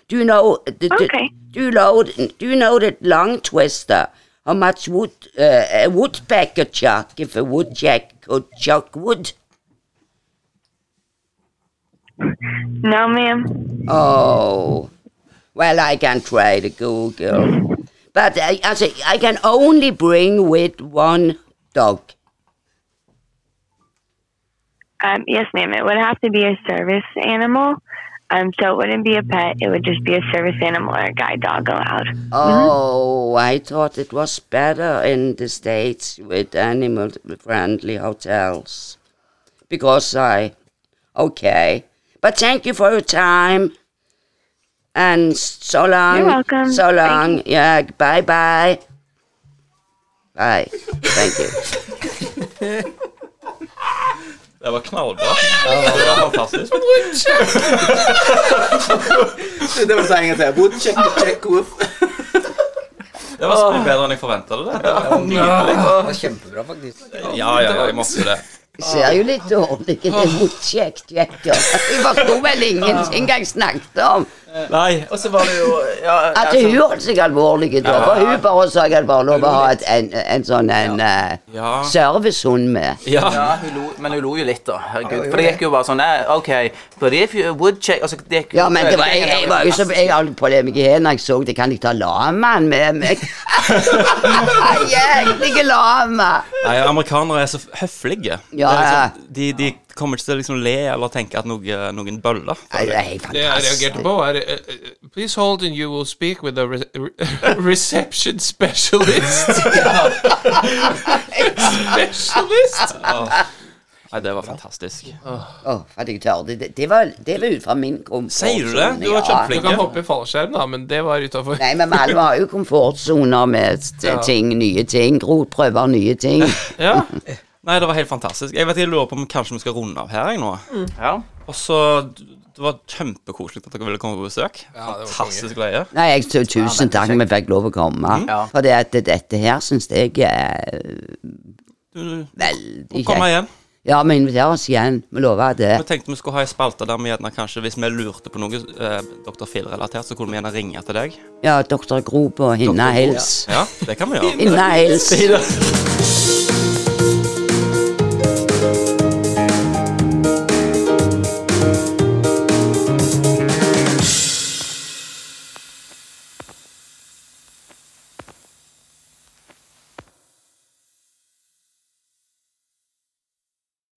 Speaker 5: do you know the, the-
Speaker 13: Okay.
Speaker 5: do you know do you know that long twister? How much wood uh, a woodpecker chuck if a woodchuck could chuck wood?
Speaker 13: No, ma'am.
Speaker 5: Oh, well, I can try to Google, but I, I, say I can only bring with one dog.
Speaker 13: Um, yes, ma'am. It would have to be a service animal. Um, so it wouldn't be a pet. It would just be a service animal or a guide dog allowed.
Speaker 5: Oh, I thought it was better in the States with animal friendly hotels. Because I. Okay. But thank you for your time. And so long.
Speaker 13: welcome.
Speaker 5: So
Speaker 13: Thank
Speaker 5: long. Yeah, bye bye. Bye. Thank you.
Speaker 4: Det var knallbra. Det var fantastisk.
Speaker 9: Det var det jeg egentlig jeg bodde. Check, check, woof.
Speaker 4: Det var så mye bedre enn jeg forventa det. der.
Speaker 9: Det var kjempebra, faktisk.
Speaker 4: Ja, ja, ja, jeg måtte det.
Speaker 5: Ser jo litt dårlig ut. Det er motkjekt, vet du. Vi forsto vel ingenting engang snakket om.
Speaker 4: Nei.
Speaker 3: Og så var det jo ja, altså-
Speaker 5: At hun holdt seg alvorlig ut. For hun bare sa jeg hadde bare lov å ha et, en, en sånn en eh,
Speaker 4: Ja.
Speaker 5: servicehund med.
Speaker 4: Ja.
Speaker 3: Ja, hun lo, men hun lo jo litt, da. Herregud. For det gikk jo bare sånn eh, OK, but if you would check altså, det gikk,
Speaker 5: Ja, men det var, jeg, jeg var jo så Jeg holdt på det med hendene. Jeg så det. Kan jeg ta lamaen med meg? Jeg er egentlig lama.
Speaker 4: Nei, amerikanere er så høflige.
Speaker 5: Ja,
Speaker 4: Det er liksom, de, de
Speaker 9: kommer ikke til å liksom le eller tenke at noe, noen bøller.
Speaker 2: Det jeg reagerte på, er eh, eh, Please hold and you will speak with a re re- reception specialist. specialist!
Speaker 9: Nei, det var fantastisk.
Speaker 5: Åh, at jeg tør. Det, det, var, det var ut fra min komfortsone.
Speaker 2: Du kan hoppe i fallskjerm, da, men det var utafor.
Speaker 5: Nei, men alle har jo komfortsoner med s-
Speaker 2: Ja.
Speaker 5: ting, nye ting. Gro prøver nye ting.
Speaker 9: Ja. Nei, det var helt fantastisk. Jeg vet, jeg lurer på om kanskje vi skal runde av her jeg, nå. Og så Det var kjempekoselig at dere ville komme på besøk. fantastisk greie.
Speaker 5: Nei, jeg så tusen takk vi fikk lov å komme.
Speaker 9: Mm. Ja.
Speaker 5: For det at dette her syns jeg er
Speaker 9: Du-
Speaker 5: veldig
Speaker 9: Og kom her igjen.
Speaker 5: Ja, vi inviterer oss igjen. Vi lover det.
Speaker 9: Vi tenkte vi skulle ha ei spalte der vi gjerne kanskje, hvis vi lurte på noe eh, Dr. Phil-relatert, så kunne vi gjerne ringe til deg.
Speaker 5: Ja, doktor Gro på Hinna Hils.
Speaker 9: Ja, det kan vi gjøre.
Speaker 5: Hinna Hils.